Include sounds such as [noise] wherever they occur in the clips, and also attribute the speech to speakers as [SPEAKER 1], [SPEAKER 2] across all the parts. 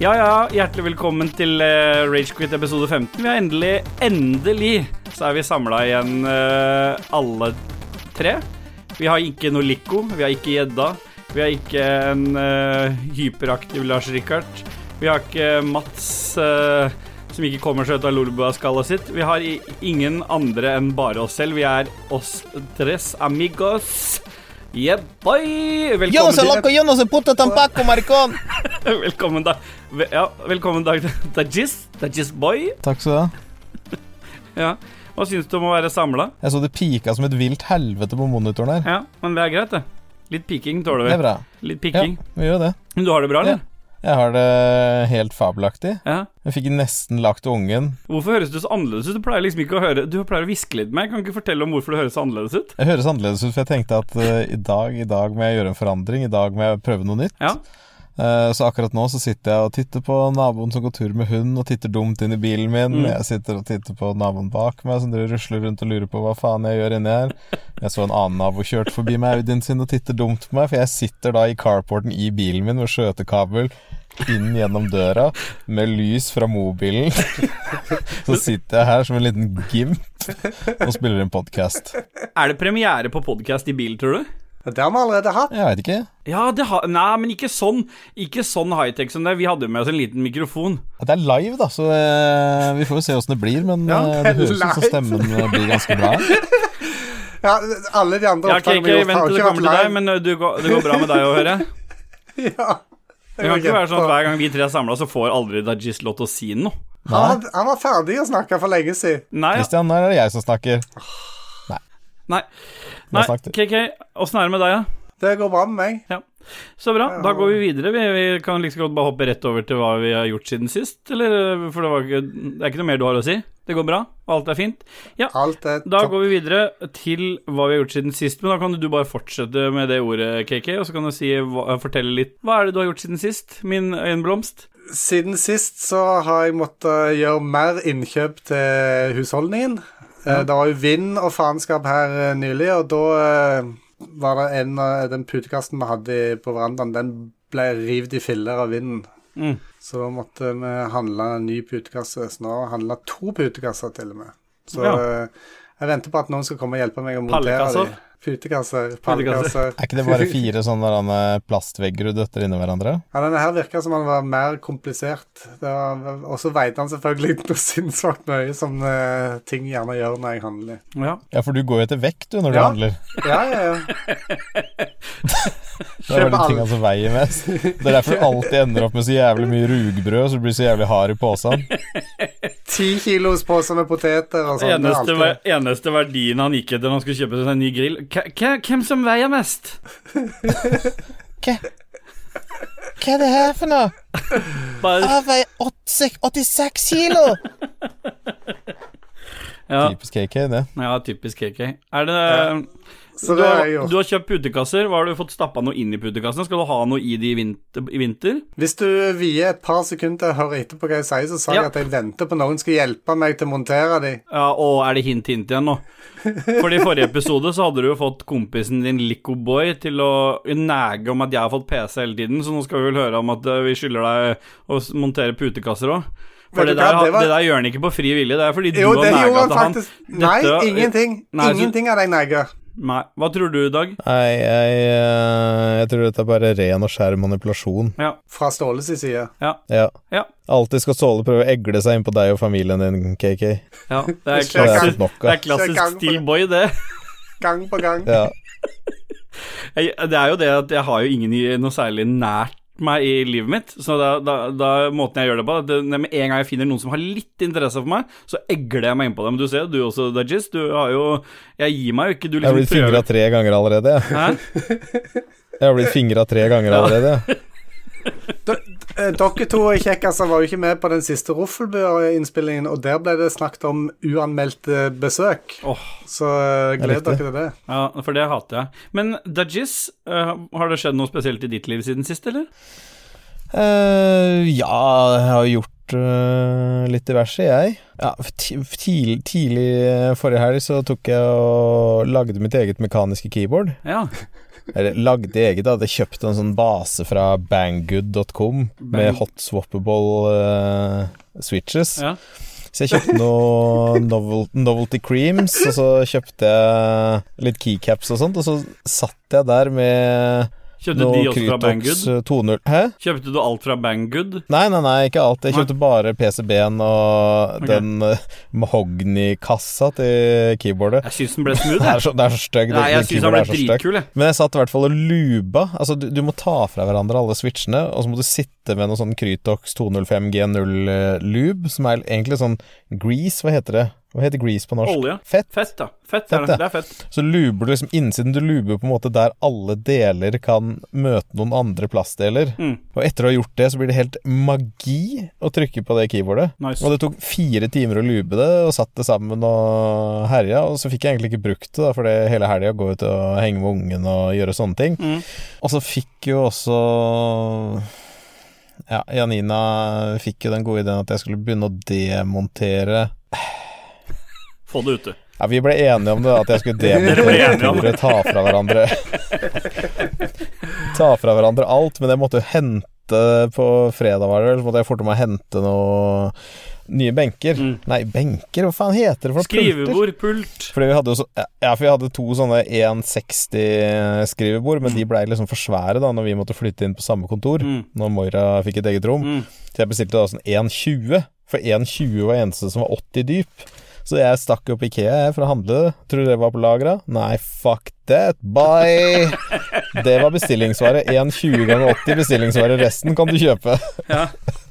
[SPEAKER 1] Ja, ja, hjertelig velkommen til eh, Ragequit episode 15. Vi er endelig, endelig så er vi samla igjen eh, alle tre. Vi har ikke noe Lico, vi har ikke gjedda, vi har ikke en eh, hyperaktiv Lars Rikard. Vi har ikke Mats eh, som ikke kommer seg ut av Lolbua-skallet sitt. Vi har i, ingen andre enn bare oss selv. Vi er oss tres amigos. Yeah, boy! Velkommen
[SPEAKER 2] Yo no soy
[SPEAKER 1] til-
[SPEAKER 2] loco, yo no soy puto tampoco, maricón.
[SPEAKER 1] [laughs] Velkommen, da. Ve- Ja, velkommen, Dag [laughs] Dajis. Dajis boy.
[SPEAKER 2] Takk skal du ha.
[SPEAKER 1] Ja. Hva syns du om å være samla?
[SPEAKER 2] Jeg så det pika som et vilt helvete på monitoren her.
[SPEAKER 1] Ja, men det er greit, det. Litt piking
[SPEAKER 2] Det er
[SPEAKER 1] tåler vi.
[SPEAKER 2] bra.
[SPEAKER 1] Litt
[SPEAKER 2] Ja,
[SPEAKER 1] pikking.
[SPEAKER 2] vi gjør det.
[SPEAKER 1] Men du har det bra, eller?
[SPEAKER 2] Jeg har det helt fabelaktig.
[SPEAKER 1] Ja.
[SPEAKER 2] Jeg fikk nesten lagt ungen.
[SPEAKER 1] Hvorfor høres du så annerledes ut? Du pleier liksom ikke å høre Du pleier å hviske litt med meg. Kan du ikke fortelle om hvorfor du høres så annerledes ut?
[SPEAKER 2] Jeg høres annerledes ut, for jeg tenkte at eh, i dag, i dag må jeg gjøre en forandring. I dag må jeg prøve noe nytt.
[SPEAKER 1] Ja.
[SPEAKER 2] Eh, så akkurat nå så sitter jeg og titter på naboen som går tur med hund, og titter dumt inn i bilen min.
[SPEAKER 1] Mm.
[SPEAKER 2] Jeg sitter og titter på naboen bak meg som driver og rusler rundt og lurer på hva faen jeg gjør inni her. Jeg så en annen nabo kjørt forbi meg Audien sin og titter dumt på meg, for jeg sitter da i carporten i bilen min med skjøtekabel inn gjennom døra med lys fra mobilen. [laughs] Så sitter jeg her som en liten gimp og spiller en podkast.
[SPEAKER 1] Er det premiere på podkast i bil, tror du?
[SPEAKER 3] Ja, Det har vi allerede hatt.
[SPEAKER 2] Jeg veit ikke.
[SPEAKER 1] Ja, det har Nei, men ikke sånn. Ikke sånn high-tech som det. Vi hadde med oss en liten mikrofon.
[SPEAKER 2] Det er live, da, så eh, vi får jo se åssen det blir. Men
[SPEAKER 3] Ja,
[SPEAKER 2] eh, det
[SPEAKER 3] det er
[SPEAKER 2] høres ut som
[SPEAKER 3] live.
[SPEAKER 2] stemmen eh, blir ganske [laughs] bra.
[SPEAKER 3] Ja, alle de andre
[SPEAKER 1] Ja, ok,
[SPEAKER 3] opptakene vi
[SPEAKER 1] ok,
[SPEAKER 3] har gjort,
[SPEAKER 1] vent
[SPEAKER 3] har
[SPEAKER 1] til det
[SPEAKER 3] ikke vært
[SPEAKER 1] kommer til deg,
[SPEAKER 3] live.
[SPEAKER 1] men ø, du går, det går bra med deg å høre.
[SPEAKER 3] [laughs] Ja.
[SPEAKER 1] Det kan ikke være sånn at hver gang vi tre er samla, så får aldri Dajis lov til å si noe.
[SPEAKER 3] Han, var- han var ferdig å snakke for lenge siden.
[SPEAKER 1] Nei,
[SPEAKER 2] Kristian, nå er det jeg som snakker.
[SPEAKER 1] nei.
[SPEAKER 2] Nå
[SPEAKER 1] nei
[SPEAKER 2] snakket
[SPEAKER 1] KK, åssen er det med deg, da?
[SPEAKER 3] Det går bra med meg.
[SPEAKER 1] Så bra, da går vi videre. Vi, vi kan liksom godt bare hoppe rett over til hva vi har gjort siden sist, eller? For det, var ikke, det er ikke noe mer du har å si. Det går bra, alt er fint.
[SPEAKER 3] Alt er
[SPEAKER 1] Da
[SPEAKER 3] topp.
[SPEAKER 1] går vi videre til hva vi har gjort siden sist, men da kan du bare fortsette med det ordet, KK, og så kan du si, hva, fortelle litt Hva er det du har gjort siden sist, min øyenblomst?
[SPEAKER 3] Siden sist så har jeg måttet gjøre mer innkjøp til husholdningen. Eh, Det var jo vind og faenskap her eh, nylig, og da eh, var det en av den putekassen vi hadde i- på verandaen, den ble rivd i filler av vinden.
[SPEAKER 1] Mm.
[SPEAKER 3] Så da måtte vi handle en ny putekasse. Så nå har jeg handlet to putekasser til og med. Så
[SPEAKER 1] Ja.
[SPEAKER 3] eh, jeg venter på at noen skal komme og hjelpe meg å montere
[SPEAKER 1] Pallekasser?
[SPEAKER 3] dem. Putekasser.
[SPEAKER 1] Pallekasser.
[SPEAKER 3] Pallekasser.
[SPEAKER 2] Er ikke det bare fire sånne der, eh, plastvegger du døtter inni hverandre?
[SPEAKER 3] Ja, denne her virka som han var mer komplisert. Det var- Og så veide han selvfølgelig noe sinnssvakt mye, som eh, ting gjerne gjør når jeg handler.
[SPEAKER 1] Ja.
[SPEAKER 2] Ja, for du går jo etter vekt du når du
[SPEAKER 3] Ja.
[SPEAKER 2] handler.
[SPEAKER 3] Ja, ja, ja.
[SPEAKER 2] Det er
[SPEAKER 3] Kjøp
[SPEAKER 2] de
[SPEAKER 3] alle.
[SPEAKER 2] tingene som veier mest. Det er derfor du alltid ender opp med så jævlig mye rugbrød, så du blir så jævlig hard i posen.
[SPEAKER 3] Ti kilos pose med poteter og sånn. det er
[SPEAKER 1] Eneste,
[SPEAKER 3] alltid-
[SPEAKER 1] ver- eneste verdien han gikk etter når han skulle kjøpe seg en ny grill K k Hvem som veier mest?
[SPEAKER 2] Hva? Hva er det her for noe?
[SPEAKER 1] Bare,
[SPEAKER 2] Jeg veier 86 kilo!
[SPEAKER 1] ja,
[SPEAKER 2] Typisk KK, det.
[SPEAKER 1] ja, typisk KK. Er det
[SPEAKER 3] Så
[SPEAKER 1] du,
[SPEAKER 3] det
[SPEAKER 1] har,
[SPEAKER 3] har jeg gjort.
[SPEAKER 1] du har kjøpt putekasser. Hva har du fått stappa noe inn i putekassene? Skal du ha noe i de i vinter? I vinter?
[SPEAKER 3] Hvis du vier et par sekunder til å høre etter på hva jeg sier, så sa
[SPEAKER 1] Ja.
[SPEAKER 3] jeg at jeg venter på noen skal hjelpe meg til å montere de.
[SPEAKER 1] Ja, og er det hint, hint igjen nå? For i forrige episode så hadde du jo fått kompisen din Licoboy til å næge om at jeg har fått PC hele tiden, så nå skal vi vel høre om at eh, vi skylder deg å s- montere putekasser òg. For
[SPEAKER 3] Vet du
[SPEAKER 1] det der,
[SPEAKER 3] hva, det var-
[SPEAKER 1] det der gjør han ikke på fri vilje, det er fordi
[SPEAKER 3] Jo,
[SPEAKER 1] du
[SPEAKER 3] det
[SPEAKER 1] har
[SPEAKER 3] gjorde
[SPEAKER 1] næga
[SPEAKER 3] han
[SPEAKER 1] til han.
[SPEAKER 3] faktisk. Nei,
[SPEAKER 1] Dette-
[SPEAKER 3] ingenting.
[SPEAKER 1] Nei, så-
[SPEAKER 3] Ingenting av de negger.
[SPEAKER 1] Nei. Hva tror du, Dag?
[SPEAKER 2] Nei, jeg, eh, jeg tror dette er bare ren og skjær manipulasjon.
[SPEAKER 1] Ja.
[SPEAKER 3] Fra Ståles side.
[SPEAKER 2] Ja.
[SPEAKER 1] Ja.
[SPEAKER 2] Alltid skal Ståle prøve å egle seg inn på deg og familien din, KK.
[SPEAKER 1] ja det er
[SPEAKER 3] Hvis
[SPEAKER 2] Det har jeg
[SPEAKER 3] kan-
[SPEAKER 1] klassisk,
[SPEAKER 2] fått nok
[SPEAKER 1] det er
[SPEAKER 2] av.
[SPEAKER 1] klassisk Steelboy, det.
[SPEAKER 3] Gang på gang.
[SPEAKER 2] Ja.
[SPEAKER 1] Jeg, det er jo det at jeg har jo ingen i, noe særlig nært meg i livet mitt, så da, da, da måten jeg gjør det på, at det, med en gang jeg finner noen som har litt interesse for meg, så egler jeg meg inn på dem. Du ser, du også, Dajis, du har jo Jeg gir meg jo ikke, du
[SPEAKER 2] Jeg har
[SPEAKER 1] liksom
[SPEAKER 2] blitt fingra tre ganger allerede. jeg.
[SPEAKER 1] Hæ?
[SPEAKER 2] Jeg har blitt fingra tre ganger allerede. jeg.
[SPEAKER 3] Eh, Dere to kjekkaser var jo ikke med på den siste Roffelbø-innspillingen, og der ble det snakket om uanmeldte besøk.
[SPEAKER 1] Åh,
[SPEAKER 3] Så eh, gled
[SPEAKER 2] riktig.
[SPEAKER 3] dere til det.
[SPEAKER 1] ja, for det hater jeg. Men Dajis, eh, har det skjedd noe spesielt i ditt liv siden sist, eller?
[SPEAKER 2] Eh, ja, jeg har gjort eh, litt diverse, jeg. Ja, f- ti- f- tidlig, tidlig eh, forrige helg så tok jeg og lagde mitt eget mekaniske keyboard.
[SPEAKER 1] Ja.
[SPEAKER 2] Eller lagde eget, da. Hadde kjøpt en sånn base fra banggood.com med
[SPEAKER 1] Bang.
[SPEAKER 2] hot swappable eh, switches.
[SPEAKER 1] Ja.
[SPEAKER 2] Så jeg kjøpte noe novel, novelty creams, og så kjøpte jeg litt keycaps og sånt, og så satt jeg der med
[SPEAKER 1] Kjøpte
[SPEAKER 2] noe
[SPEAKER 1] de også fra
[SPEAKER 2] Krytox
[SPEAKER 1] Banggood?
[SPEAKER 2] 2.0 Hæ?
[SPEAKER 1] Kjøpte du alt fra Banggood?
[SPEAKER 2] Nei, nei, nei, ikke alt. Jeg kjøpte bare PCB-en og
[SPEAKER 1] Ok.
[SPEAKER 2] den eh, mahogny-kassa til keyboardet.
[SPEAKER 1] Jeg syns den ble smooth.
[SPEAKER 2] Det
[SPEAKER 1] jeg.
[SPEAKER 2] er så, det er så stygg.
[SPEAKER 1] Nei, jeg syns den ble
[SPEAKER 2] stygg.
[SPEAKER 1] dritkul, jeg.
[SPEAKER 2] Men jeg satt i hvert fall og luba. Altså, du, du må ta fra hverandre alle switchene, og så må du sitte med noe sånn Krytox 205 G0-lube, eh, som er egentlig sånn grease Hva heter det? Hva heter grease på norsk?
[SPEAKER 1] Olje.
[SPEAKER 2] Fett.
[SPEAKER 1] Fett, da. Fett,
[SPEAKER 2] Fett,
[SPEAKER 1] er det.
[SPEAKER 2] ja.
[SPEAKER 1] det er fett.
[SPEAKER 2] Så luber du liksom innsiden. Du luber på en måte der alle deler kan møte noen andre plastdeler.
[SPEAKER 1] Mm.
[SPEAKER 2] Og etter å ha gjort det, så blir det helt magi å trykke på det keyboardet.
[SPEAKER 1] Nice.
[SPEAKER 2] Og det tok fire timer å lube det, og satt det sammen og herja. Og så fikk jeg egentlig ikke brukt det, da, for det hele helga går ut og henge med ungen og gjøre sånne ting.
[SPEAKER 1] Mm.
[SPEAKER 2] Og så fikk jo også Ja, Janina fikk jo den gode ideen at jeg skulle begynne å demontere
[SPEAKER 1] Få det ute.
[SPEAKER 2] ja, Vi ble enige om det, at
[SPEAKER 1] [laughs]
[SPEAKER 2] jeg skulle
[SPEAKER 1] Dere ble enige
[SPEAKER 2] demontere
[SPEAKER 1] om
[SPEAKER 2] bordet, ta fra hverandre Ta fra hverandre alt, men jeg måtte jo hente på fredag, var det vel, så måtte jeg forte meg å hente noe nye benker.
[SPEAKER 1] Mm.
[SPEAKER 2] Nei, benker, hva faen heter det for noe? Pulter?
[SPEAKER 1] Skrivebord, pult.
[SPEAKER 2] Fordi vi hadde jo så, ja, for vi hadde to sånne 160-skrivebord, men de blei liksom for svære da når vi måtte flytte inn på samme kontor.
[SPEAKER 1] Mm.
[SPEAKER 2] Når Moira fikk et eget rom.
[SPEAKER 1] Mm.
[SPEAKER 2] Så jeg bestilte da sånn 1,20, for 1,20 var eneste som var 80 dyp. Så jeg stakk opp Ikea jeg, for å handle. Tror du det var på lagra? Nei, fuck that, bye! Det var bestillingsvare. 1,20 ganger 80 bestillingsvare. Resten kan du kjøpe.
[SPEAKER 1] Ja.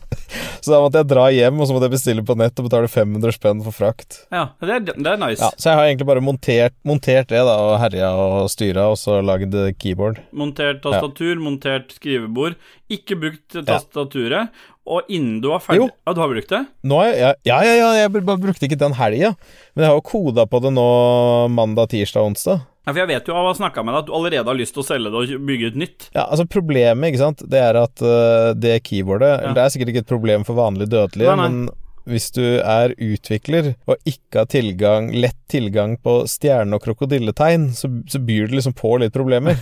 [SPEAKER 2] [laughs] Så da måtte jeg dra hjem, og så måtte jeg bestille på nett og betale 500 spenn for frakt.
[SPEAKER 1] ja. Det er, det er nice.
[SPEAKER 2] Ja, så jeg har egentlig bare montert, montert det, da, og herja og styra, og så lagd keyboard.
[SPEAKER 1] Montert tastatur, montert skrivebord. Ikke brukt tastaturet. Og innen du var
[SPEAKER 2] Jo.
[SPEAKER 1] ferdig Ja, du har brukt det?
[SPEAKER 2] Nå har jeg, ja, ja, ja, jeg bare brukte ikke den helga, men jeg har jo koda på det nå mandag, tirsdag, onsdag.
[SPEAKER 1] Ja, for jeg vet jo av å ha snakka med deg at du allerede har lyst til å selge det og bygge ut nytt.
[SPEAKER 2] Ja, altså Problemet ikke sant, det er at øh, det keyboardet
[SPEAKER 1] Ja.
[SPEAKER 2] Det er sikkert ikke et problem for vanlige dødelige,
[SPEAKER 1] Nei, nei.
[SPEAKER 2] men hvis du er utvikler og ikke har tilgang, lett tilgang på stjerne- og krokodilletegn, så, så byr det liksom på litt problemer.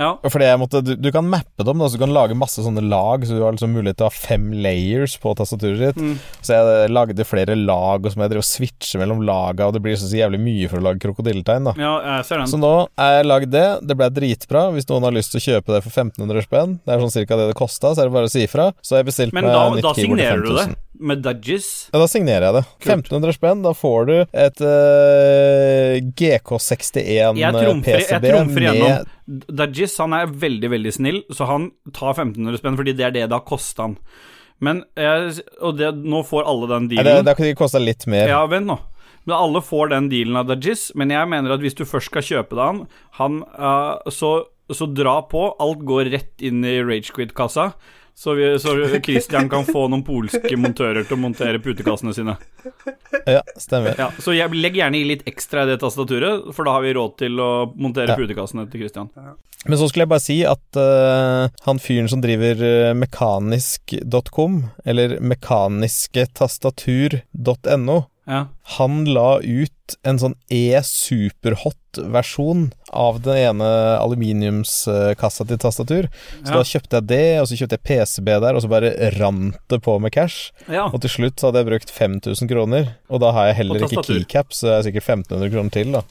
[SPEAKER 1] Ja.
[SPEAKER 2] Fordi jeg måtte, du, du kan mappe dem, da, så du kan lage masse sånne lag, så du har liksom mulighet til å ha fem layers på tastaturet ditt.
[SPEAKER 1] Mm.
[SPEAKER 2] Så jeg lagde flere lag, og så må jeg drive og switche mellom laga, og det blir så, så jævlig mye for å lage krokodilletegn, da.
[SPEAKER 1] Ja, jeg ser den.
[SPEAKER 2] Så nå er jeg lagd det. Det ble dritbra. Hvis noen har lyst til å kjøpe det for 1500 spenn, det er sånn cirka det det kosta, så er det bare å si ifra. Så har jeg bestilt
[SPEAKER 1] Men
[SPEAKER 2] meg
[SPEAKER 1] da,
[SPEAKER 2] eh, nytt
[SPEAKER 1] da
[SPEAKER 2] keyboard til
[SPEAKER 1] signerer du det
[SPEAKER 2] 5000.
[SPEAKER 1] med dudges.
[SPEAKER 2] Ja, da signerer jeg det. 1500 spenn, da får du et eh, GK61
[SPEAKER 1] Jeg
[SPEAKER 2] eh,
[SPEAKER 1] trumfer, jeg
[SPEAKER 2] PCB
[SPEAKER 1] trumfer
[SPEAKER 2] med
[SPEAKER 1] igjennom. Dajis han er veldig, veldig snill, så han tar 1500 spenn fordi det er det det har kosta han. Men jeg, Og det, nå får alle den
[SPEAKER 2] Nei, det,
[SPEAKER 1] dealen.
[SPEAKER 2] det har ikke kosta litt mer.
[SPEAKER 1] Ja, vent nå. Men alle får den dealen av Dajis, men jeg mener at hvis du først skal kjøpe det han, han eh, så, så dra på. Alt går rett inn i Ragequid-kassa. Så, vi, så Christian kan få noen polske montører til å montere putekassene sine.
[SPEAKER 2] Ja, stemmer.
[SPEAKER 1] Ja, så jeg legg gjerne i litt ekstra i det tastaturet, for da har vi råd til å montere
[SPEAKER 2] Ja.
[SPEAKER 1] putekassene til Christian.
[SPEAKER 2] Men så skulle jeg bare si at eh, han fyren som driver eh, mekanisk.com, eller mekanisketastatur.no,
[SPEAKER 1] Ja.
[SPEAKER 2] Han la ut en sånn e-superhot-versjon av den ene aluminiumskassa til tastatur. Så
[SPEAKER 1] Ja.
[SPEAKER 2] da kjøpte jeg det, og så kjøpte jeg PCB der, og så bare rant det på med cash.
[SPEAKER 1] ja.
[SPEAKER 2] Og til slutt så hadde jeg brukt 5000 kroner, og da har jeg heller
[SPEAKER 1] På
[SPEAKER 2] ikke
[SPEAKER 1] tastatur.
[SPEAKER 2] keycap, så jeg har sikkert 1500 kroner til, da.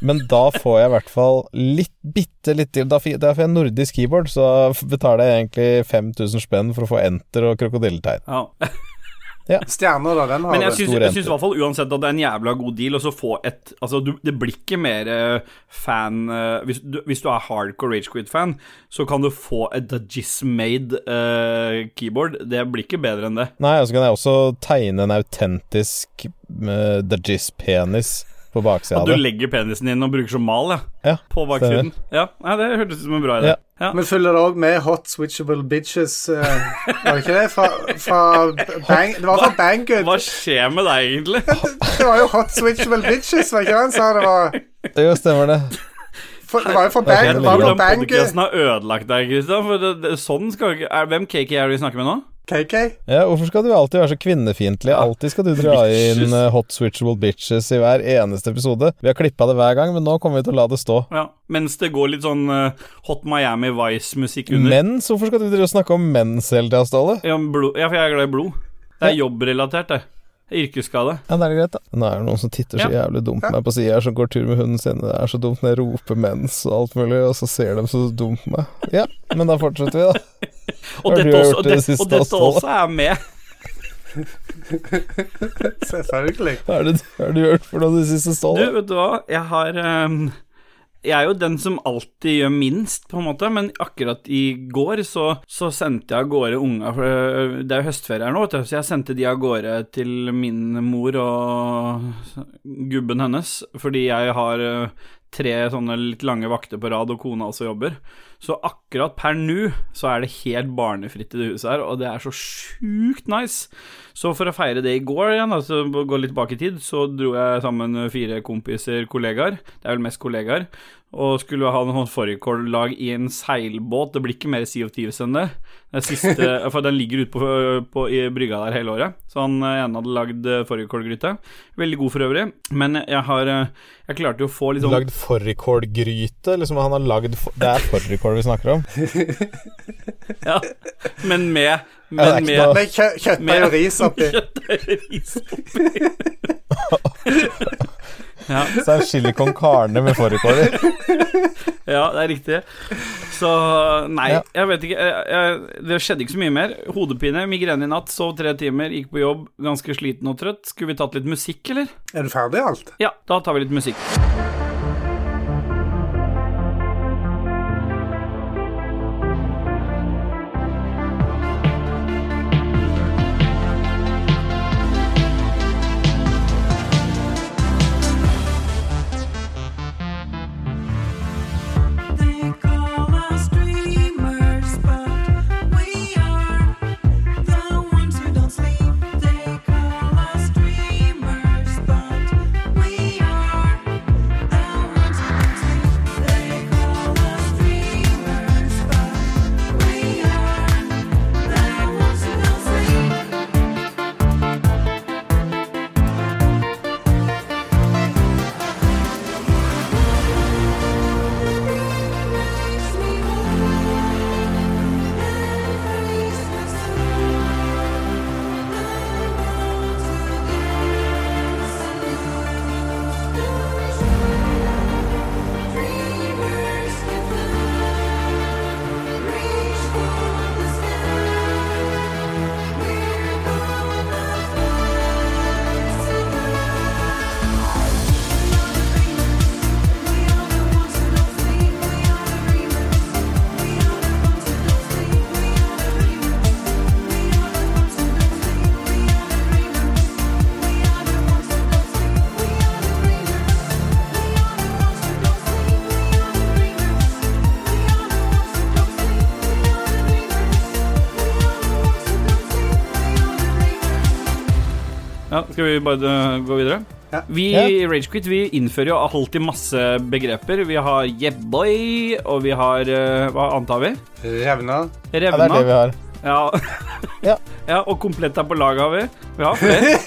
[SPEAKER 2] Men da får jeg i hvert fall litt, bitte litt til. Da fi- da får jeg nordisk keyboard, så da betaler jeg egentlig 5000 spenn for å få enter og krokodilletegn.
[SPEAKER 1] ja.
[SPEAKER 3] Stjerner, da, den
[SPEAKER 1] Men
[SPEAKER 3] har
[SPEAKER 1] jeg
[SPEAKER 3] du.
[SPEAKER 1] syns,
[SPEAKER 2] Stor
[SPEAKER 1] jeg
[SPEAKER 2] rente.
[SPEAKER 1] syns i hvert fall uansett at det er en jævla god deal, og så få et Altså, du, det blir ikke mer eh, fan eh, hvis, du, hvis du er hardcore Ragequid-fan, så kan du få et Dajis-made eh, keyboard. Det blir ikke bedre enn det.
[SPEAKER 2] Nei, og så kan jeg også tegne en autentisk eh, Dajis-penis på baksida
[SPEAKER 1] At
[SPEAKER 2] av
[SPEAKER 1] du
[SPEAKER 2] det.
[SPEAKER 1] legger penisen din og bruker som mal, ja.
[SPEAKER 2] Ja,
[SPEAKER 1] På baksiden. Ja, nei, det hørtes ut som en bra idé.
[SPEAKER 2] Ja.
[SPEAKER 1] Ja.
[SPEAKER 3] Men følger det òg med Hot Switchable Bitches? eh, var det ikke det? Fra, fra bang, det var fra Banggood.
[SPEAKER 1] Hva skjer med deg, egentlig?
[SPEAKER 3] Det var jo Hot Switchable Bitches, var ikke det han sa? Det var,
[SPEAKER 2] Jo, stemmer det.
[SPEAKER 3] for, det var jo fra Bang, det var fra
[SPEAKER 1] Hvordan
[SPEAKER 3] Banggood.
[SPEAKER 1] podcasten har ødelagt deg, Kristian. For det, det, sånn skal jo ikke er, Hvem Kaki Harry snakker med nå?
[SPEAKER 3] KK?
[SPEAKER 2] Ja, hvorfor skal du alltid være så kvinnefiendtlig? Alltid skal du dra
[SPEAKER 1] Bitches.
[SPEAKER 2] inn eh, hot switchable bitches i hver eneste episode. Vi har klippa det hver gang, men nå kommer vi til å la det stå.
[SPEAKER 1] Ja. Mens det går litt sånn eh, Hot Miami Vice-musikk under.
[SPEAKER 2] Mens? Hvorfor skal du drive og snakke om mens hele tida, Ståle?
[SPEAKER 1] Ja, men blod. ja, for jeg er glad i blod. Det er jobbrelatert, det. Yrkesskade.
[SPEAKER 2] Ja, det er greit, da. Nå er det noen som titter så jævlig dumt på meg på sida her, som går tur med hunden sin. Det er så dumt når jeg roper mens og alt mulig, og så ser de så dumt på meg. Ja, men da fortsetter vi, da.
[SPEAKER 1] Og
[SPEAKER 2] Har du
[SPEAKER 1] dette også,
[SPEAKER 2] hørt
[SPEAKER 1] og
[SPEAKER 2] det
[SPEAKER 1] det,
[SPEAKER 2] siste
[SPEAKER 1] og dette
[SPEAKER 2] også?
[SPEAKER 1] også er med.
[SPEAKER 3] Selvfølgelig.
[SPEAKER 2] Hva er det du- hva har du gjort for noe det
[SPEAKER 1] Du,
[SPEAKER 2] siste, Ståle?
[SPEAKER 1] vet du hva, jeg har ehm, Jeg er jo den som alltid gjør minst, på en måte, men akkurat i går så, så sendte jeg av gårde unga for øh, Det er jo høstferie her nå, vet du, så jeg sendte de av gårde til min mor og gubben hennes, fordi jeg har øh, tre sånne litt lange vakter på rad, og kona også jobber. Så akkurat per nå så er det helt barnefritt i det huset her, og det er så sjukt nice. Så for å feire det i går igjen, altså gå litt bak i tid, så dro jeg sammen med fire kompiser, kollegaer, det er vel mest kollegaer, og skulle ha noen fårikållag i en seilbåt. Det blir ikke mer Sea of Thieves enn det. Det er siste,
[SPEAKER 2] [laughs]
[SPEAKER 1] for den ligger ute på, på, i brygga der hele året. Så han eh, ene hadde lagd eh, fårikålgryte. Veldig god for øvrig, men jeg har eh, Jeg klarte jo å få litt sånn
[SPEAKER 2] Lagd fårikålgryte? Liksom, han har lagd for... Det er fårikål vi snakker om.
[SPEAKER 1] [laughs] Ja, men med
[SPEAKER 2] Ja, det er
[SPEAKER 1] Men
[SPEAKER 2] ikke noe-
[SPEAKER 1] med
[SPEAKER 3] Med kjø kjøttdeig og ris oppi.
[SPEAKER 1] kjøttdeigris oppi. [laughs]
[SPEAKER 2] [laughs]
[SPEAKER 1] ja.
[SPEAKER 2] Så det er chili con carne med fårikål i.
[SPEAKER 1] [laughs] Ja, det er riktig. Så nei,
[SPEAKER 2] Ja.
[SPEAKER 1] jeg vet ikke. Jeg, jeg, det skjedde ikke så mye mer. Hodepine, migrene i natt, sov tre timer, gikk på jobb, ganske sliten og trøtt. Skulle vi tatt litt musikk, eller?
[SPEAKER 3] Er du ferdig i alt?
[SPEAKER 1] Ja, da tar vi litt musikk.
[SPEAKER 4] They call us dreamers, but we are the ones who don't sleep. They call us dreamers, but we are the ones who don't sleep. They call us dreamers, but we are the ones who don't sleep.
[SPEAKER 1] Ja, skal vi bare øh, gå videre?
[SPEAKER 3] Ja.
[SPEAKER 1] Vi
[SPEAKER 2] Ja.
[SPEAKER 1] i Ragequit vi innfører jo alltid masse begreper. Vi har jebboy, og vi har øh, Hva annet har vi?
[SPEAKER 3] Revna.
[SPEAKER 2] Ja, det er det
[SPEAKER 1] Revna.
[SPEAKER 2] vi har.
[SPEAKER 1] Ja,
[SPEAKER 2] Ja.
[SPEAKER 1] [laughs] ja og komplett er på laget har vi. Vi har
[SPEAKER 2] [laughs]
[SPEAKER 1] flere.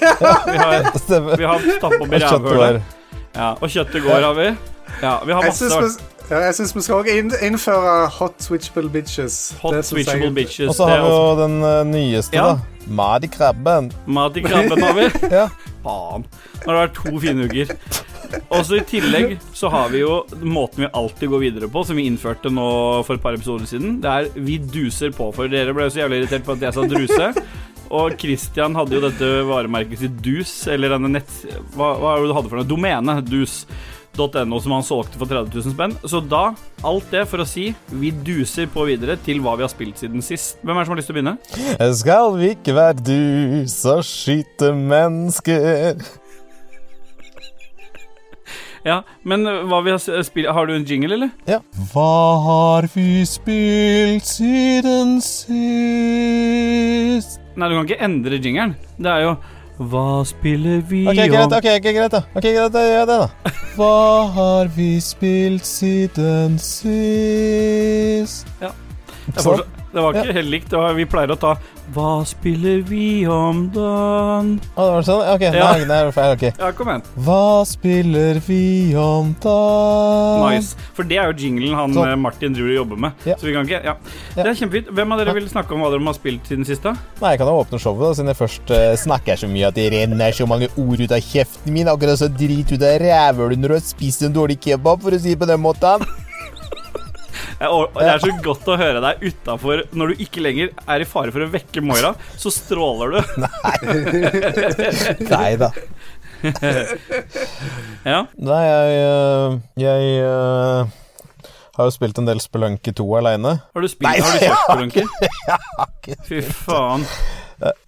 [SPEAKER 1] Vi har,
[SPEAKER 2] Stemmer.
[SPEAKER 1] vi har stapp opp i
[SPEAKER 2] Og
[SPEAKER 1] rævhølet.
[SPEAKER 2] kjøttboller.
[SPEAKER 1] Ja, og kjøttet går har vi. Ja, vi har
[SPEAKER 3] Jeg
[SPEAKER 1] masse
[SPEAKER 3] syns vi, ja, jeg synes vi skal også inn, innføre hot switchable bitches.
[SPEAKER 1] hot
[SPEAKER 3] Det synes jeg-
[SPEAKER 1] switchable bitches.
[SPEAKER 2] Og så
[SPEAKER 1] Det
[SPEAKER 2] har vi
[SPEAKER 1] er
[SPEAKER 2] jo den eh, nyeste,
[SPEAKER 1] altså. Ja.
[SPEAKER 2] da. Mari Krabben.
[SPEAKER 1] også- Mat i krabben har vi.
[SPEAKER 2] Ja.
[SPEAKER 1] Faen. Nå har det vært to fine uker. Og så i tillegg så har vi jo måten vi alltid går videre på, som vi innførte nå for et par episoder siden. Det er vi duser på for dere. Ble jo så jævlig irritert på at jeg sa druse. Og Christian hadde jo dette varemerket sitt Dus, eller denne nett... Hva, hva var det du hadde for noe? Domene. Dus.no, som han solgte for 30 000 spenn. Så da, alt det for å si, vi duser på videre til hva vi har spilt siden sist. Hvem er det som har lyst til å begynne?
[SPEAKER 2] Skal vi ikke være dus og skyte mennesker?
[SPEAKER 1] Ja, men øh, hva vi har s- spilt Har du en jingle, eller?
[SPEAKER 2] Ja. Hva har vi spilt siden sist?
[SPEAKER 1] Nei, du kan ikke endre jingeren. Det er jo Hva spiller vi
[SPEAKER 2] Ok, greit,
[SPEAKER 1] om?
[SPEAKER 2] ok, ok, greit da. Ok, greit, da gjør jeg det, da. Hva har vi spilt siden sist?
[SPEAKER 1] Ja. Det er
[SPEAKER 2] Sånn.
[SPEAKER 1] fortsatt, Det var ikke helt likt. Det var, vi pleier å ta Hva spiller vi om dagen?
[SPEAKER 2] Å, det var sånn? Ok,
[SPEAKER 1] Ja.
[SPEAKER 2] nei, nei, det var feil. Ok.
[SPEAKER 1] Ja, kom igjen.
[SPEAKER 2] Hva spiller vi om da?
[SPEAKER 1] Nice. For det er jo jinglen han
[SPEAKER 2] Sånn.
[SPEAKER 1] eh, Martin driver og jobber med.
[SPEAKER 2] Ja.
[SPEAKER 1] Så vi kan ikke ja.
[SPEAKER 2] Ja.
[SPEAKER 1] Det er kjempefint. Hvem av dere
[SPEAKER 2] Ja.
[SPEAKER 1] vil snakke om hva dere har spilt siden sist, da?
[SPEAKER 2] Nei, jeg kan jo åpne showet, da, siden jeg først eh, snakker så mye at det renner så mange ord ut av kjeften min, akkurat så drit ut av rævhølet når du har spist en dårlig kebab, for å si det på den måten.
[SPEAKER 1] Jeg- og- og Det er så godt å høre deg utafor når du ikke lenger er i fare for å vekke Moira. Så stråler du.
[SPEAKER 2] [laughs]
[SPEAKER 1] [laughs]
[SPEAKER 2] Nei da.
[SPEAKER 1] Ja.
[SPEAKER 2] Nei, jeg eh, Jeg eh, har jo spilt en del Spelunky 2 aleine.
[SPEAKER 1] Har du spilt?
[SPEAKER 2] Nei,
[SPEAKER 1] har du
[SPEAKER 2] jeg
[SPEAKER 1] kjøpt
[SPEAKER 2] har
[SPEAKER 1] Spelunker? Fy faen.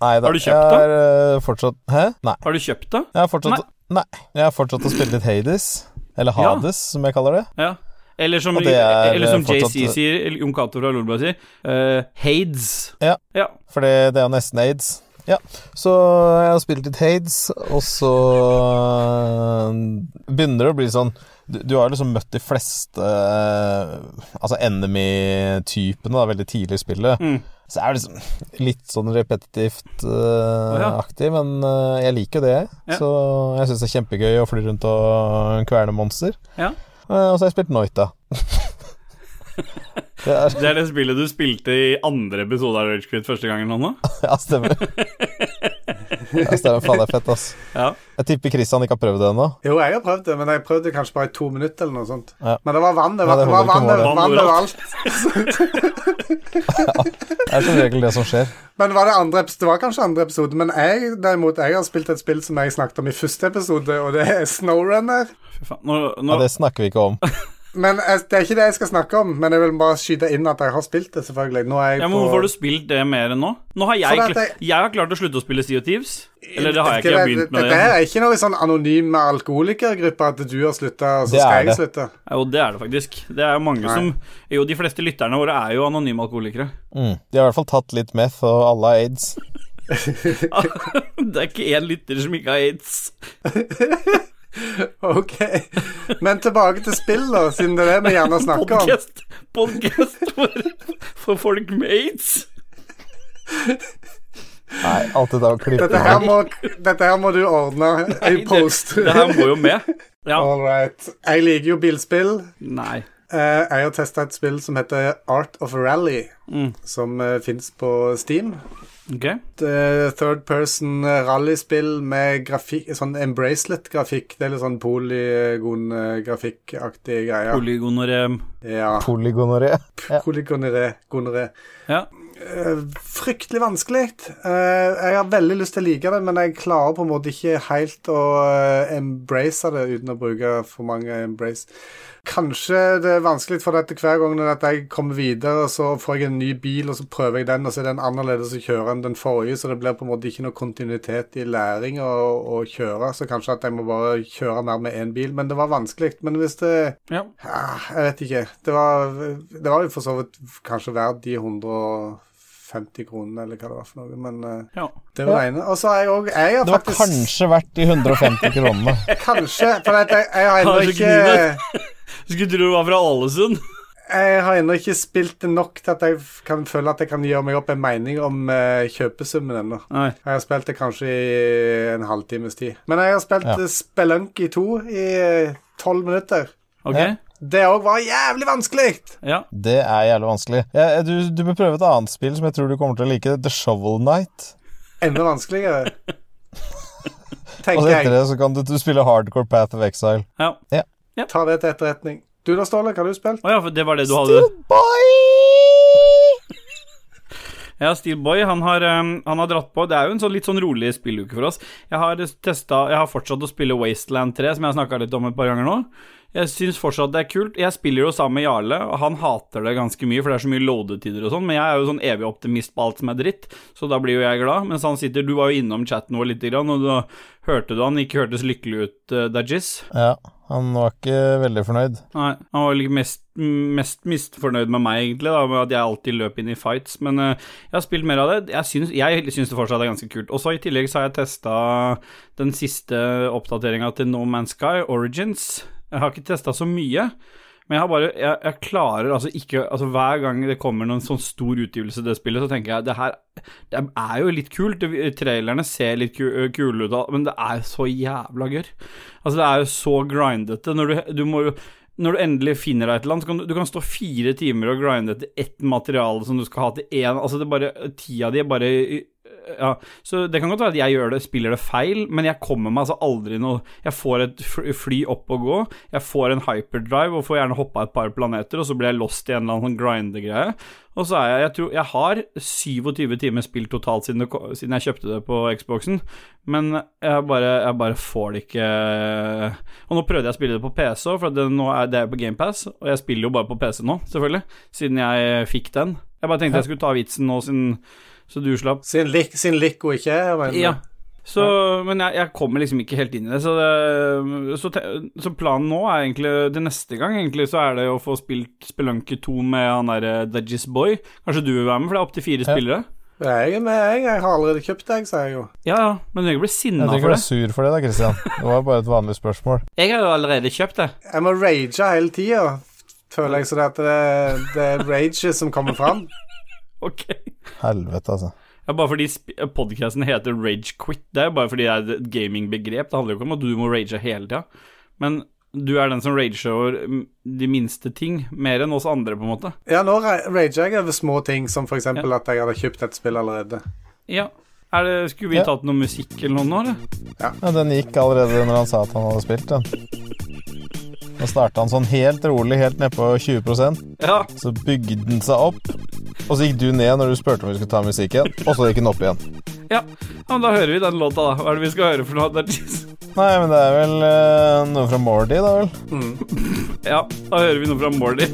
[SPEAKER 2] Nei da.
[SPEAKER 1] Har du kjøpt
[SPEAKER 2] Jeg har eh, fortsatt Hæ? Nei.
[SPEAKER 1] Har du kjøpt det?
[SPEAKER 2] Jeg har fortsatt Nei. Jeg har fortsatt å spille litt Hades. Eller
[SPEAKER 1] Ja.
[SPEAKER 2] Hades, som jeg kaller det.
[SPEAKER 1] Ja. Eller som,
[SPEAKER 2] Og det er eh,
[SPEAKER 1] eller som
[SPEAKER 2] fortsatt-
[SPEAKER 1] JC sier, eller Jon Cato fra Lolbua sier, eh, Hades.
[SPEAKER 2] Ja.
[SPEAKER 1] ja.
[SPEAKER 2] Fordi det er jo nesten aids. Ja, så jeg har spilt litt Hades, og så begynner det å bli sånn Du, du har jo liksom møtt de fleste eh, Altså enemy-typene da, veldig tidlig i spillet.
[SPEAKER 1] Mm.
[SPEAKER 2] Så er det liksom litt sånn repetitivt eh,
[SPEAKER 1] ja.
[SPEAKER 2] aktig, men eh, jeg liker jo det.
[SPEAKER 1] Ja.
[SPEAKER 2] Så jeg syns det er kjempegøy å fly rundt og kverne monster.
[SPEAKER 1] Ja.
[SPEAKER 2] Eh, og så har jeg spilt
[SPEAKER 1] [laughs]
[SPEAKER 2] Noita. det er
[SPEAKER 1] Det er det spillet du spilte i andre episode av Rage Quit første gangen nå?
[SPEAKER 2] Ja, stemmer. Ja, stemmer. Faen, det er fett, ass.
[SPEAKER 1] Ja.
[SPEAKER 2] Jeg tipper Christian ikke har prøvd det ennå.
[SPEAKER 3] Jo, jeg har prøvd det, men jeg prøvde kanskje bare i to minutter eller noe sånt.
[SPEAKER 2] Ja.
[SPEAKER 3] Men det var vann, det
[SPEAKER 2] Ja,
[SPEAKER 3] var,
[SPEAKER 2] det
[SPEAKER 3] det
[SPEAKER 2] holder
[SPEAKER 3] var
[SPEAKER 2] ikke
[SPEAKER 3] vann,
[SPEAKER 2] mål,
[SPEAKER 3] det,
[SPEAKER 1] det.
[SPEAKER 3] vann overalt.
[SPEAKER 2] Det er som regel det som skjer.
[SPEAKER 3] Men var det andre episode? Det var kanskje andre episode, men jeg derimot, jeg har spilt et spill som jeg snakket om i første episode, og det er Snowrunner.
[SPEAKER 1] Fy faen. Nå,
[SPEAKER 2] Ja,
[SPEAKER 1] nå,
[SPEAKER 2] det snakker vi ikke om.
[SPEAKER 3] Men jeg, det er ikke det jeg skal snakke om, men jeg vil bare skyte inn at jeg har spilt det, selvfølgelig. Nå er jeg
[SPEAKER 1] ja, men
[SPEAKER 3] på
[SPEAKER 1] hvorfor har du spilt det mer enn nå? Nå har jeg,
[SPEAKER 3] Fordi Sånn at
[SPEAKER 1] kla-
[SPEAKER 3] jeg-
[SPEAKER 1] jeg har klart å slutte å spille Sea of Thieves. Eller det har jeg ikke, jeg har begynt med
[SPEAKER 3] Dette her
[SPEAKER 1] det.
[SPEAKER 3] er ikke noe sånn anonyme alkoholikergruppe at du har slutta, og så
[SPEAKER 2] Det er
[SPEAKER 3] skal jeg
[SPEAKER 2] det.
[SPEAKER 3] slutte.
[SPEAKER 1] Jo, det er det faktisk. Det er jo mange
[SPEAKER 3] Nei.
[SPEAKER 1] som Jo, de fleste lytterne våre er jo anonyme alkoholikere. [laughs]
[SPEAKER 2] Mm. De har i hvert fall tatt litt meth, og alle har aids.
[SPEAKER 1] Det er ikke én lytter som ikke har aids.
[SPEAKER 3] Ok. Men tilbake til spill, da, siden det er det vi gjerne snakker om.
[SPEAKER 1] Podcast, podcast for, for folk med aids.
[SPEAKER 2] Nei, alt dette var
[SPEAKER 3] Dette her
[SPEAKER 2] klipping.
[SPEAKER 3] må, dette her må du ordne i post.
[SPEAKER 1] Det, det her må jo med. Ja.
[SPEAKER 3] [laughs] All right. Jeg liker jo bilspill.
[SPEAKER 1] Nei.
[SPEAKER 3] Eh, Jeg har testa et spill som heter Art of Rally, som fins på Steam.
[SPEAKER 1] Mm. Ok.
[SPEAKER 3] Et, eh, Third person rallyspill med grafikk, sånn embracelet-grafikk. Det er litt sånn polygon-grafikkaktige greier.
[SPEAKER 1] Polygonorem.
[SPEAKER 3] Ja.
[SPEAKER 2] Polygonoré. Ja.
[SPEAKER 3] Polygoneré. Gonoré.
[SPEAKER 1] Ja.
[SPEAKER 3] Eh, fryktelig vanskelig. Eh, jeg har veldig lyst til å like det, men jeg klarer på en måte ikke helt å eh, embrace det uten å bruke for mange embrace. Kanskje det er vanskelig for dette hver gang når at jeg kommer videre, og så får jeg en ny bil, og så prøver jeg den, og så er den annerledes å kjøre enn den forrige, så det blir på en måte ikke noe kontinuitet i læring å, å kjøre, så kanskje at jeg må bare kjøre mer med én bil. Men det var vanskelig. Men hvis det
[SPEAKER 1] ja.
[SPEAKER 3] Ah, Jeg vet ikke. Det var, det var jo for så vidt kanskje verdt de 150 kronene, eller hva det var for noe, men eh,
[SPEAKER 1] ja.
[SPEAKER 3] det var det ene. Og så har jeg òg Jeg har
[SPEAKER 2] Det var
[SPEAKER 3] faktisk
[SPEAKER 2] kanskje verdt de 150 kronene.
[SPEAKER 3] [laughs] kanskje, For at jeg, jeg har
[SPEAKER 1] Har
[SPEAKER 3] ennå
[SPEAKER 1] du
[SPEAKER 3] ikke
[SPEAKER 1] ikke Skulle tro du var fra Ålesund.
[SPEAKER 3] Jeg har ennå ikke spilt det nok til at jeg f- kan føle at jeg kan gjøre meg opp en mening om eh, kjøpesummen ennå.
[SPEAKER 1] Nei.
[SPEAKER 3] Jeg har spilt det kanskje i en halvtimes tid. Men jeg har spilt
[SPEAKER 2] Ja.
[SPEAKER 3] ja. Spelunky 2 i eh, tolv minutter.
[SPEAKER 1] Ok.
[SPEAKER 2] Ja.
[SPEAKER 3] Det òg var jævlig vanskelig!
[SPEAKER 1] Ja.
[SPEAKER 2] Det er jævlig vanskelig. Ja, eh, du, du bør prøve et annet spill som jeg tror du kommer til å like. The Shovel Night.
[SPEAKER 3] Enda
[SPEAKER 2] [laughs]
[SPEAKER 3] vanskeligere.
[SPEAKER 2] Og
[SPEAKER 3] Tenker
[SPEAKER 2] så
[SPEAKER 3] jeg.
[SPEAKER 2] etter det så kan du, du spille Hardcore Path of Exile.
[SPEAKER 1] ja.
[SPEAKER 3] Ta det til etterretning. Du da, Ståle, hva har du spilt?
[SPEAKER 1] Å ja, for det var det du hadde.
[SPEAKER 2] Boy!
[SPEAKER 1] Ja, Steelboy, han har, um, han har dratt på. Det er jo en sånn litt sånn rolig spilluke for oss. Jeg har testa Jeg har fortsatt å spille Wasteland 3, som jeg har snakka litt om et par ganger nå. Jeg syns fortsatt det er kult. Jeg spiller jo sammen med Jarle, og han hater det ganske mye, for det er så mye loadetider og sånn, men jeg er jo sånn evig optimist på alt som er dritt, så da blir jo jeg glad. Mens han sitter Du var jo innom chatten vår lite grann, og da hørte du han ikke hørtes lykkelig ut, uh, Dajis.
[SPEAKER 2] Ja, han var ikke veldig fornøyd.
[SPEAKER 1] Nei, han var vel mest, mest misfornøyd med meg, egentlig, da, med at jeg alltid løp inn i fights. Men eh, jeg har spilt mer av det. Jeg syns, jeg syns det fortsatt er ganske kult. Og så i tillegg så har jeg testa den siste oppdateringa til No Man's Sky, Origins. Jeg har ikke testa så mye. Men jeg har bare Jeg, jeg klarer altså ikke Altså Hver gang det kommer noen sånn stor utgivelse til det spillet, så tenker jeg det her Det er jo litt kult. Det, trailerne ser litt ku- eh, kule ut, og- men det er så jævla gørr. Altså, det er jo så grindete. Når du, du må jo når du endelig finner deg et eller annet, så kan du, du kan stå fire timer og grinde etter ett materiale som du skal ha til én Altså, det er bare Tida di er bare ja, så det kan godt være at jeg gjør det, spiller det feil, men jeg kommer meg altså aldri noe Jeg får et fl- fly opp og gå, jeg får en hyperdrive og får gjerne hoppa et par planeter, og så blir jeg lost i en eller annen sånn grindegreie. Og så er jeg Jeg tror jeg har 27 timer spilt totalt siden, det, ko- siden jeg kjøpte det på Xboxen, men jeg bare, jeg bare får det ikke eh. Og nå prøvde jeg å spille det på PC òg, for det, nå er det er jo på GamePass, og jeg spiller jo bare på PC nå, selvfølgelig, siden jeg fikk den. Jeg bare tenkte jeg skulle ta vitsen nå, siden så du slapp.
[SPEAKER 3] Sin lik, sin lik og ikke her, men
[SPEAKER 1] Ja. Så, Men jeg, jeg kommer liksom ikke helt inn i det. Så, det så, te, så planen nå er egentlig Til neste gang egentlig så er det å få spilt Spelunky 2 med han derre Dudgies Boy. Kanskje du vil være med, for det er opptil fire
[SPEAKER 2] Ja.
[SPEAKER 1] spillere.
[SPEAKER 3] jeg er med, jeg. Jeg har allerede kjøpt deg, sier jeg jo.
[SPEAKER 1] Ja, ja, men du trenger ikke bli
[SPEAKER 2] Jeg
[SPEAKER 1] sinna
[SPEAKER 2] trenger ikke
[SPEAKER 1] for
[SPEAKER 2] være
[SPEAKER 1] det.
[SPEAKER 2] sur for det, da, Christian. Det var bare et vanlig spørsmål.
[SPEAKER 1] Jeg har jo allerede kjøpt det.
[SPEAKER 3] Jeg må rage hele tida, føler jeg, så det, at det, det er rage som kommer
[SPEAKER 2] [laughs]
[SPEAKER 3] fram.
[SPEAKER 1] Ok.
[SPEAKER 2] Helvete, altså.
[SPEAKER 1] Ja, bare fordi podkasten heter Rage Quit. Det er jo bare fordi det er et gamingbegrep. Det handler jo ikke om at du må rage hele tida. Men du er den som rager over mm, de minste ting, mer enn oss andre, på en måte.
[SPEAKER 3] Ja, nå ra- rager jeg over små ting, som for eksempel at jeg hadde kjøpt et spill allerede.
[SPEAKER 1] Ja. Er det, skulle vi
[SPEAKER 2] Ja.
[SPEAKER 1] tatt noe musikk eller noe nå, eller?
[SPEAKER 2] Ja, den gikk allerede når han sa at han hadde spilt den. Da starta han sånn helt rolig, helt nedpå 20
[SPEAKER 1] Ja.
[SPEAKER 2] Så bygde den seg opp, og så gikk du ned når du spurte om vi skulle ta musikken, og så gikk den opp igjen.
[SPEAKER 1] ja. men da hører vi den låta, da. Hva er det vi skal høre for noe? Det er-
[SPEAKER 2] Nei, men det er vel eh, noe fra Mordy, da vel?
[SPEAKER 3] Mm.
[SPEAKER 1] Ja, da hører vi noe fra Mordy.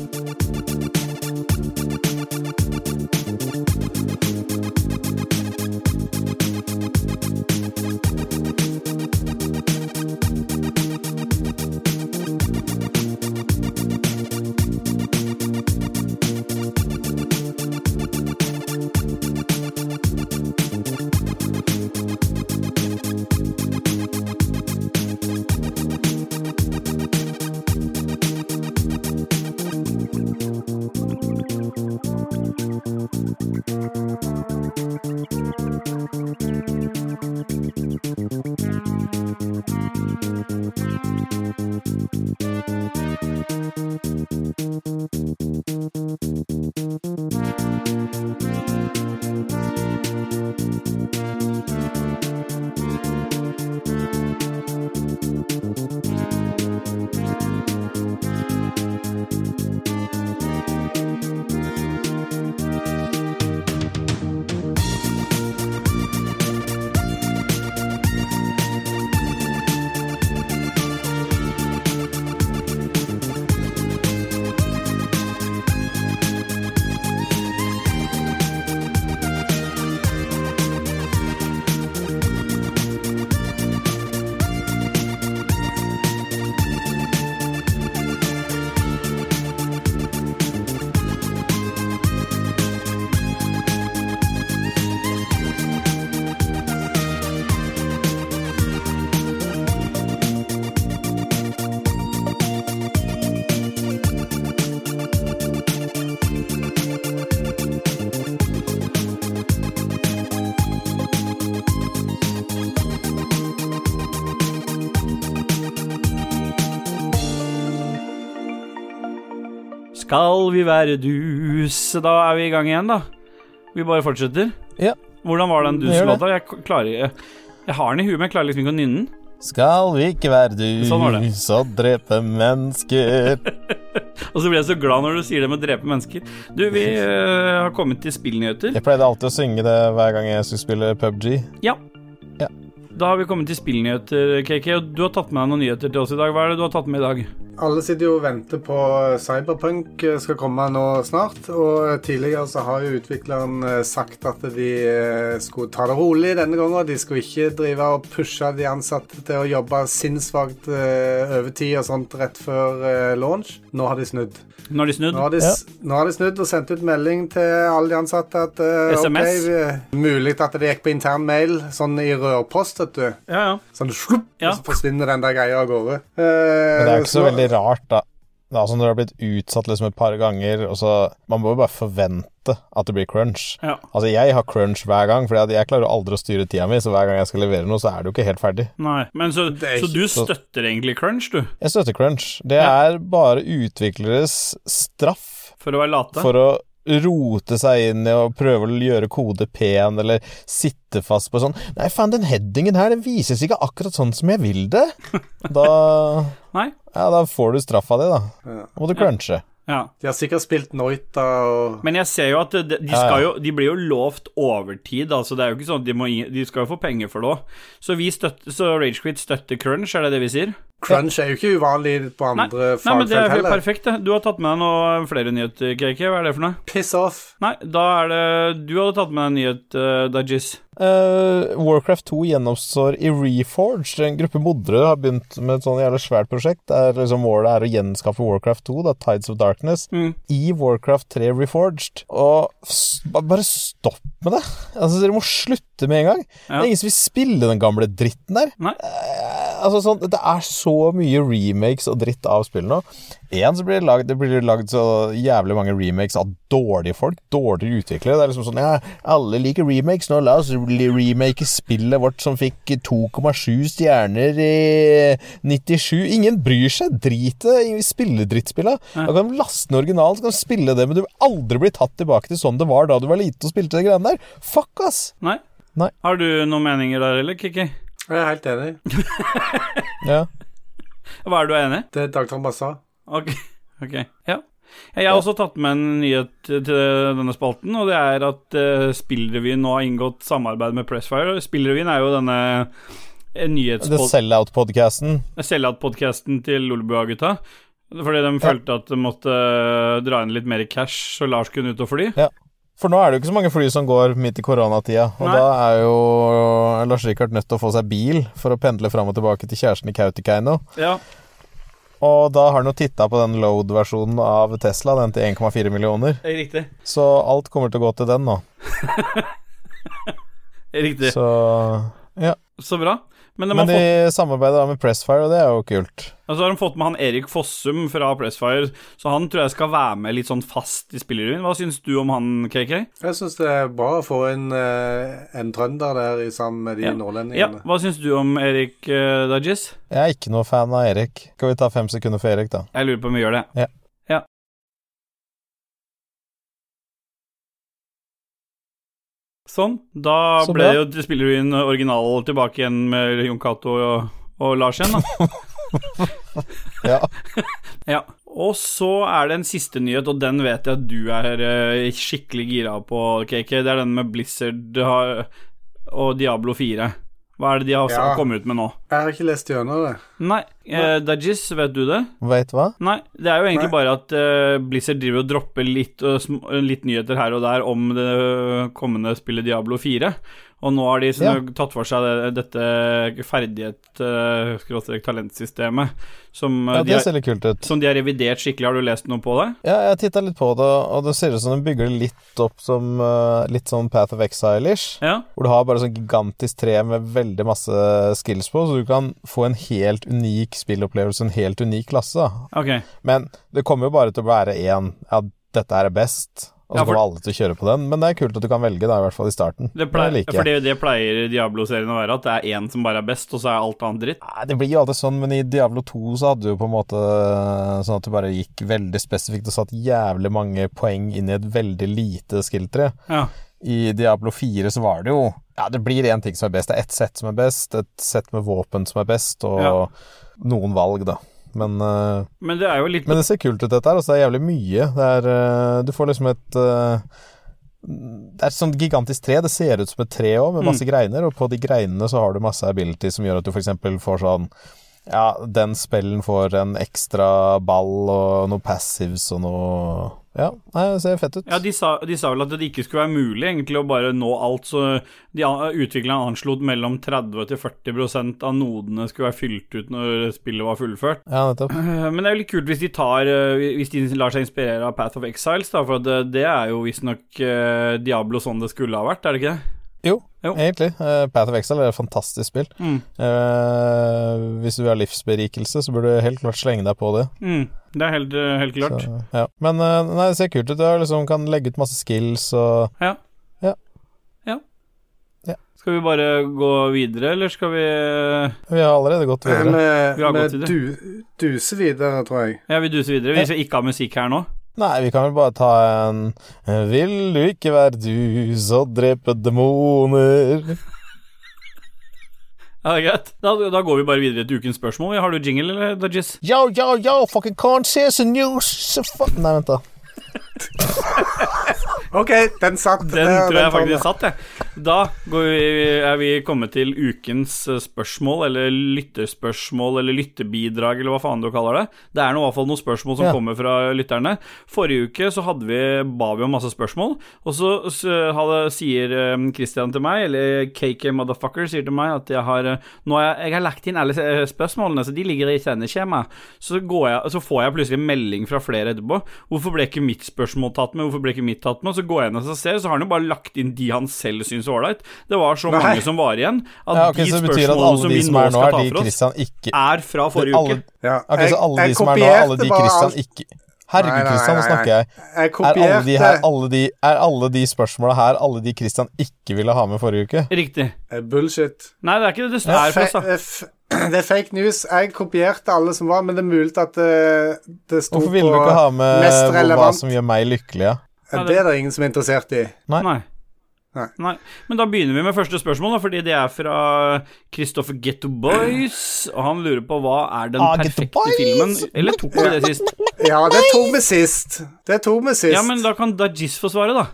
[SPEAKER 1] Skal vi være dus? Da er vi i gang igjen, da. Vi bare fortsetter.
[SPEAKER 2] Ja.
[SPEAKER 1] Hvordan var den
[SPEAKER 2] Vi gjør det.
[SPEAKER 1] dus-låta? Jeg k- klarer jeg, jeg har den i huet, men jeg klarer liksom ikke å nynne den.
[SPEAKER 2] Skal vi ikke være dus
[SPEAKER 1] Sånn var det.
[SPEAKER 2] og drepe mennesker?
[SPEAKER 1] Og så blir jeg så glad når du sier det med å drepe mennesker. Du, vi
[SPEAKER 2] [laughs]
[SPEAKER 1] eh, har kommet til spillnyheter.
[SPEAKER 2] Jeg pleide alltid å synge det hver gang jeg skulle spille PubG.
[SPEAKER 1] Ja.
[SPEAKER 2] Ja.
[SPEAKER 1] Da har vi kommet til spillnyheter, KK. Og du har tatt med deg noen nyheter til oss i dag. Hva er det du har tatt med i dag?
[SPEAKER 3] Alle sitter jo og venter på Cyberpunk eh, skal komme nå snart. Og eh, tidligere så har jo utvikleren eh, sagt at de eh, skulle ta det rolig denne gangen. De skulle ikke drive og pushe de ansatte til å jobbe sinnssvakt eh, overtid og sånt rett før eh, launch. Nå har de snudd.
[SPEAKER 1] Nå har de snudd.
[SPEAKER 3] Nå har de, s- nå har de snudd og sendt ut melding til alle de ansatte at eh,
[SPEAKER 1] SMS?
[SPEAKER 3] ok, vi- Mulig at det gikk på intern mail, sånn i rørpost, vet du.
[SPEAKER 1] Ja, ja.
[SPEAKER 3] Sånn slupp,
[SPEAKER 1] Ja.
[SPEAKER 3] og Eh, så forsvinner den der greia av gårde.
[SPEAKER 2] Men det er jo ikke så veldig rart, da. det er altså når du har blitt utsatt liksom et par ganger, og så Man må jo bare forvente at det blir crunch.
[SPEAKER 1] Ja.
[SPEAKER 2] Altså, jeg har crunch hver gang, for jeg klarer jo aldri å styre tida mi, så hver gang jeg skal levere noe, så er det jo ikke helt ferdig.
[SPEAKER 1] Nei, men så,
[SPEAKER 3] er
[SPEAKER 1] så du støtter egentlig crunch, du?
[SPEAKER 2] Jeg støtter crunch. Det er bare utvikleres straff
[SPEAKER 1] For å være late?
[SPEAKER 2] for å rote seg inn i å prøve å gjøre kode pen, eller sitte fast på sånn Nei, faen, den headingen her, den vises ikke akkurat sånn som jeg vil det. Da
[SPEAKER 1] Nei?
[SPEAKER 2] Ja, da får du straffa di, da. Må du crunche.
[SPEAKER 1] Ja.
[SPEAKER 3] De har sikkert spilt Noita og
[SPEAKER 1] Men jeg ser jo at de, de, skal jo, de blir jo lovt overtid, altså det er jo ikke sånn at de, må, ing- de skal jo få penger for det òg. Så, vi støtter- så Ragequit støtter crunch, er det det vi sier?
[SPEAKER 3] Crunch er jo ikke uvanlig på
[SPEAKER 1] Nei,
[SPEAKER 3] andre
[SPEAKER 1] nei men det
[SPEAKER 3] fagfelt
[SPEAKER 1] er jo
[SPEAKER 3] heller.
[SPEAKER 1] perfekt, det. Du har tatt med deg noe flere nyheter, KK. Hva er det for noe?
[SPEAKER 3] Piss off.
[SPEAKER 1] Nei, da er det Du hadde tatt med deg en nyhet, uh, Dajis.
[SPEAKER 2] Eh, Warcraft 2 gjennomstår i Reforged. En gruppe modere har begynt med et sånn jævlig svært prosjekt der liksom målet er å gjenskaffe Warcraft 2, da, Tides of Darkness, i Warcraft 3 Reforged. Og s- ba- bare stopp med det! Altså, dere må slutte med en gang. Det er ingen som vil spille den gamle dritten der.
[SPEAKER 1] Nei.
[SPEAKER 2] Eh, altså sånn, Det er så mye remakes og dritt av spill nå. Én så blir det lagd, det blir lagd så jævlig mange remakes av dårlige folk. Dårligere utviklere. Det er liksom sånn Ja, alle liker remakes nå. La oss li- remake spillet vårt som fikk 2,7 stjerner i 97. Ingen bryr seg. Drit i det. Spille drittspilla. Da kan de laste ned originalen, så kan de spille det, men du vil aldri bli tatt tilbake til sånn det var da du var liten og spilte de greiene der. Fuck, ass!
[SPEAKER 1] Nei?
[SPEAKER 2] Nei.
[SPEAKER 1] Har du noen meninger der, eller, Kiki?
[SPEAKER 3] Jeg er helt enig.
[SPEAKER 2] Ja.
[SPEAKER 1] Hva er du enig i?
[SPEAKER 3] Det Dag Thomas sa.
[SPEAKER 1] Ok, [laughs] ok, ja Jeg har også tatt med en nyhet til denne spalten Og det er at eh, Spillrevyen nå har inngått samarbeid med Pressfire Spillrevyen er jo denne eh,
[SPEAKER 2] The
[SPEAKER 1] nyhetspod-
[SPEAKER 2] Sellout-podkasten.
[SPEAKER 1] Sellout-podcasten til Lollebua-gutta Fordi de følte at de måtte eh, dra inn litt mer cash Så Lars kunne ut og fly
[SPEAKER 2] Ja. For nå er det jo ikke så mange fly som går midt i koronatida, og
[SPEAKER 1] Nei.
[SPEAKER 2] da er jo Lars-Rikard nødt til å få seg bil for å pendle fram og tilbake til kjæresten i Kautokeino.
[SPEAKER 1] Ja,
[SPEAKER 2] Og da har han jo titta på den load-versjonen av Tesla, den til 1,4 millioner.
[SPEAKER 1] riktig
[SPEAKER 2] Så alt kommer til å gå til den nå.
[SPEAKER 1] Riktig, så,
[SPEAKER 2] Så ja.
[SPEAKER 1] bra Men, de
[SPEAKER 2] Men
[SPEAKER 1] har
[SPEAKER 2] de
[SPEAKER 1] fått,
[SPEAKER 2] samarbeider da med Pressfire, og det er jo kult.
[SPEAKER 1] og så har de fått med han Erik Fossum fra Pressfire Så han tror jeg skal være med litt sånn fast i Spillrevyen Hva synes du om han, KK?
[SPEAKER 3] Jeg syns det er bra å få en, eh, en trønder der i sammen med de
[SPEAKER 1] Ja,
[SPEAKER 3] nordlendingene.
[SPEAKER 1] Hva syns du om Erik uh, Dajis?
[SPEAKER 2] Jeg er ikke noe fan av Erik. Skal vi ta fem sekunder for Erik, da?
[SPEAKER 1] Jeg lurer på om vi gjør det.
[SPEAKER 2] Ja.
[SPEAKER 1] ja. Sånn. Da
[SPEAKER 2] Så
[SPEAKER 1] ble det
[SPEAKER 2] bra.
[SPEAKER 1] jo spiller du inn original tilbake igjen med Jon Cato og, og Lars igjen,
[SPEAKER 2] [laughs]
[SPEAKER 1] da.
[SPEAKER 2] Ja. [laughs]
[SPEAKER 1] Ja. Og så er det en siste nyhet, og den vet jeg at du er eh, skikkelig gira på, KK. Det er den med Blizzard har, og Diablo 4. Hva er det de har
[SPEAKER 3] Ja.
[SPEAKER 1] kommet ut med nå?
[SPEAKER 3] Jeg har ikke lest gjennom det.
[SPEAKER 1] Nei, eh, Dajis, vet du det?
[SPEAKER 2] Veit hva?
[SPEAKER 1] Nei, det er jo egentlig
[SPEAKER 3] Nei.
[SPEAKER 1] bare at eh, Blizzard driver og dropper litt, og sm- eh, litt nyheter her og der om det eh, kommende spillet Diablo 4. Og nå har de sånn, tatt for seg det, dette ferdighet-talentsystemet som, eh,
[SPEAKER 2] Ja,
[SPEAKER 1] de
[SPEAKER 2] det
[SPEAKER 1] har-
[SPEAKER 2] ser litt kult ut.
[SPEAKER 1] som de har revidert skikkelig. Har du lest noe på det?
[SPEAKER 2] Ja, jeg titta litt på det, og det ser ut som de bygger det litt opp som eh, litt sånn Path of Exile-ish.
[SPEAKER 1] Ja?
[SPEAKER 2] Hvor du har bare sånn gigantisk tre med veldig masse skills på, så du kan få en helt unik spillopplevelse, en helt unik klasse. da.
[SPEAKER 1] Ok.
[SPEAKER 2] Men det kommer jo bare til å være én Ja, dette her er best, og så
[SPEAKER 1] Ja, for-
[SPEAKER 2] får alle til å kjøre på den. Men det er kult at du kan velge, da, i hvert fall i starten.
[SPEAKER 1] Det pleier,
[SPEAKER 2] liker jeg.
[SPEAKER 1] fordi det pleier Diablo-serien å være, at det er én som bare er best, og så er alt annet dritt.
[SPEAKER 2] Nei, det blir jo alltid sånn, men i Diablo 2 så hadde du jo på en måte sånn at du bare gikk veldig spesifikt og satt jævlig mange poeng inn i et veldig lite skill-tre.
[SPEAKER 1] Ja.
[SPEAKER 2] I Diablo 4 så var det jo Ja, det blir én ting som er best. Det er ett sett som er best, et sett med våpen som er best, og
[SPEAKER 1] Ja.
[SPEAKER 2] noen valg, da. Men, eh,
[SPEAKER 1] Men det er jo litt
[SPEAKER 2] men det ser kult ut, dette her. Altså, det er jævlig mye. Det er eh, Du får liksom et eh, Det er et sånt gigantisk tre. Det ser ut som et tre òg, med
[SPEAKER 1] Mm.
[SPEAKER 2] masse greiner, og på de greinene så har du masse ability som gjør at du f.eks. får sånn ja, den spellen får en ekstra ball og noe passives og noe Ja, nei, det ser fett ut.
[SPEAKER 1] Ja, de sa, de sa vel at det ikke skulle være mulig egentlig å bare nå alt, så de an- utviklerne anslo at mellom 30 til 40 av nodene skulle være fylt ut når spillet var fullført.
[SPEAKER 2] ja nettopp.
[SPEAKER 1] Eh, Men det er jo litt kult hvis de tar eh, Hvis de lar seg inspirere av Path of Exiles, da, for at det, det er jo visstnok eh, Diablo sånn det skulle ha vært, er det ikke det?
[SPEAKER 2] Jo,
[SPEAKER 1] Jo.
[SPEAKER 2] egentlig. Eh, Path of Exile er et fantastisk spill.
[SPEAKER 1] Mm.
[SPEAKER 2] Eh, hvis du vil ha livsberikelse, så burde du helt klart slenge deg på det.
[SPEAKER 1] Mm. Det er helt, eh, helt klart.
[SPEAKER 2] Så, ja. Men eh, nei, det ser kult ut. Du liksom, kan legge ut masse skills og
[SPEAKER 1] Ja.
[SPEAKER 2] Ja.
[SPEAKER 1] Ja.
[SPEAKER 2] Ja.
[SPEAKER 1] Skal vi bare gå videre, eller skal vi
[SPEAKER 2] Vi har allerede gått videre.
[SPEAKER 1] Vi har
[SPEAKER 3] Vi
[SPEAKER 1] gått i det.
[SPEAKER 3] du, duser videre, tror jeg.
[SPEAKER 1] Ja, vi duser videre. Vi
[SPEAKER 2] Ja.
[SPEAKER 1] skal ikke ha musikk her nå.
[SPEAKER 2] Nei, vi kan vel bare ta en eh, Vil du ikke være dus og drepe demoner?
[SPEAKER 1] Ja, det er greit. Da, da går vi bare videre til ukens spørsmål. Har du jingle, eller, Dodges?
[SPEAKER 2] Yo, yo, yo, fucking can't see the news so fuck... Nei, vent, da.
[SPEAKER 3] OK, den satt.
[SPEAKER 1] Den
[SPEAKER 3] Ja,
[SPEAKER 1] tror jeg
[SPEAKER 3] tar vi.
[SPEAKER 1] faktisk satt, jeg. Da går vi, er vi kommet til ukens eh, spørsmål, eller lytterspørsmål, eller lyttebidrag, eller hva faen du kaller det. Det er nå i hvert fall noen spørsmål som
[SPEAKER 2] Ja.
[SPEAKER 1] kommer fra lytterne. Forrige uke så hadde vi, ba vi om masse spørsmål, og så, så hadde, sier eh, Christian til meg, eller KK Motherfucker sier til meg at jeg har eh, Nå har jeg, jeg har lagt inn alle eh, spørsmålene, så de ligger i sendeskjemaet. Så, går jeg, så får jeg plutselig melding fra flere etterpå. Hvorfor ble ikke mitt spørsmål tatt med? Hvorfor ble ikke mitt tatt med? Og så går jeg inn og så ser, så har han jo bare lagt inn de han selv syns var ålreit. Det var så
[SPEAKER 3] Nei.
[SPEAKER 1] mange som var igjen, at
[SPEAKER 2] Ja, ok,
[SPEAKER 1] de
[SPEAKER 2] så det betyr at
[SPEAKER 1] spørsmålene
[SPEAKER 2] alle
[SPEAKER 1] som
[SPEAKER 2] de
[SPEAKER 1] vi
[SPEAKER 2] som
[SPEAKER 1] nå
[SPEAKER 2] er nå,
[SPEAKER 1] skal
[SPEAKER 2] er
[SPEAKER 1] ta
[SPEAKER 2] de
[SPEAKER 1] for oss,
[SPEAKER 2] Christian ikke
[SPEAKER 1] er fra forrige
[SPEAKER 2] alle,
[SPEAKER 1] uke.
[SPEAKER 3] Ja,
[SPEAKER 2] Ok, så alle de som er nå, er
[SPEAKER 3] kopierte
[SPEAKER 2] alle de
[SPEAKER 3] bare
[SPEAKER 2] Christian
[SPEAKER 3] alt.
[SPEAKER 2] ikke Herregud,
[SPEAKER 3] Nei, nei,
[SPEAKER 2] Christian, nå
[SPEAKER 3] nei, nei.
[SPEAKER 2] snakker jeg. Er
[SPEAKER 3] Jeg
[SPEAKER 2] alle de her,
[SPEAKER 3] kopierte
[SPEAKER 2] alle de, er alle de spørsmåla her alle de Christian ikke ville ha med forrige uke?
[SPEAKER 1] Riktig.
[SPEAKER 3] Eh, Bullshit.
[SPEAKER 1] Nei, det er ikke det. Det er fra
[SPEAKER 3] Fe-
[SPEAKER 1] sa-
[SPEAKER 3] eh, f- [clears throat] Det er fake news. Jeg kopierte alle som var, men det er mulig at det, det sto på
[SPEAKER 2] Hvorfor ville du ikke ha med
[SPEAKER 3] mest
[SPEAKER 2] hvor- hva
[SPEAKER 3] relevant.
[SPEAKER 2] som gjør meg lykkelig? Ja?
[SPEAKER 3] Eh, Det er det ingen som er interessert i.
[SPEAKER 2] Nei.
[SPEAKER 1] Nei.
[SPEAKER 3] Nei.
[SPEAKER 1] Men da begynner vi med første spørsmål, da, fordi det er fra Kristoffer Getto Boys. Og han lurer på hva er den
[SPEAKER 2] Ah, Ghetto
[SPEAKER 1] perfekte
[SPEAKER 2] Boys!
[SPEAKER 1] filmen Eller tok vi det sist?
[SPEAKER 3] Ja, det tok vi sist. Det tok vi sist.
[SPEAKER 1] Ja, men da kan Dajis få svare, da.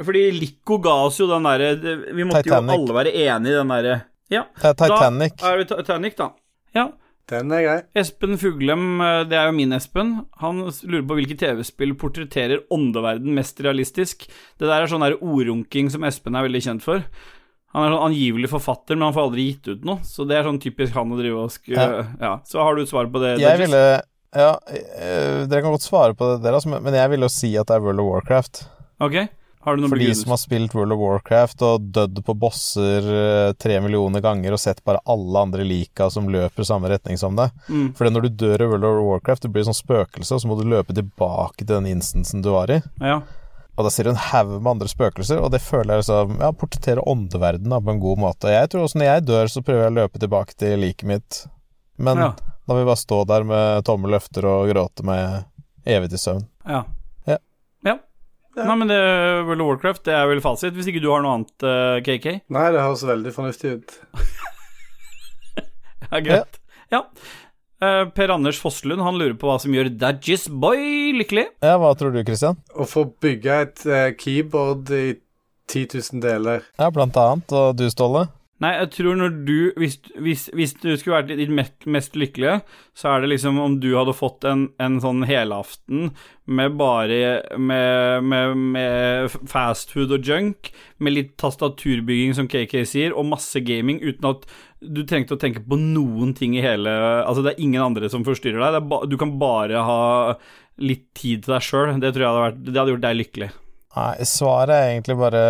[SPEAKER 1] Fordi Lico ga oss jo den derre det- Vi måtte
[SPEAKER 2] Titanic.
[SPEAKER 1] jo alle være enige i den derre Ja.
[SPEAKER 2] Det er Titanic.
[SPEAKER 1] Da er vi Titanic, da. Ja.
[SPEAKER 3] Den er grei.
[SPEAKER 1] Espen Fuglem, eh, det er jo min Espen, han s- lurer på hvilke TV-spill portretterer åndeverden mest realistisk. Det der er sånn der ordrunking som Espen er veldig kjent for. Han er sånn angivelig forfatter, men han får aldri gitt ut noe. Så det er sånn typisk han å drive og sk...
[SPEAKER 2] Ja.
[SPEAKER 1] Ja. Så har du et svar på det?
[SPEAKER 2] Jeg
[SPEAKER 1] Dodges?
[SPEAKER 2] ville Ja, eh, dere kan godt svare på det, dere, altså, men men jeg ville jo si at det er World of Warcraft.
[SPEAKER 1] Ok. Har du noen
[SPEAKER 2] For de
[SPEAKER 1] begrunnelse?
[SPEAKER 2] som har spilt World of Warcraft og dødd på bosser eh, tre millioner ganger og sett bare alle andre lika som løper samme retning som deg.
[SPEAKER 1] Mm.
[SPEAKER 2] Fordi når du dør i World of Warcraft, du blir sånn spøkelse, og så må du løpe tilbake til den instansen du var i.
[SPEAKER 1] Ja.
[SPEAKER 2] Og da ser du en haug med andre spøkelser, og det føler jeg liksom Ja, portretterer åndeverdenen da, på en god måte. Jeg tror også når jeg dør, så prøver jeg å løpe tilbake til liket mitt, men
[SPEAKER 1] Ja.
[SPEAKER 2] da vil jeg bare stå der med tomme løfter og gråte meg evig til søvn.
[SPEAKER 1] Ja.
[SPEAKER 2] Ja.
[SPEAKER 1] Ja. Nei, men det, World of Warcraft det er vel fasit, hvis ikke du har noe annet, eh, KK.
[SPEAKER 3] Nei, det høres veldig fornuftig ut.
[SPEAKER 1] [laughs] Ja, greit. Ja. Eh, per Anders Fosslund han lurer på hva som gjør Dajis Boy lykkelig.
[SPEAKER 2] Ja, hva tror du, Christian?
[SPEAKER 3] Å få bygge et eh, keyboard i 10 000 deler.
[SPEAKER 2] Ja, blant annet. Og du, Ståle?
[SPEAKER 1] Nei, jeg tror når du Hvis, hvis, hvis du skulle vært ditt mest, mest lykkelige, så er det liksom om du hadde fått en, en sånn helaften med bare med, med, med fastfood og junk, med litt tastaturbygging, som KK sier, og masse gaming, uten at du trengte å tenke på noen ting i hele Altså, det er ingen andre som forstyrrer deg. Det er ba, du kan bare ha litt tid til deg sjøl. Det tror jeg hadde vært Det hadde gjort deg lykkelig.
[SPEAKER 2] Nei, svaret er egentlig bare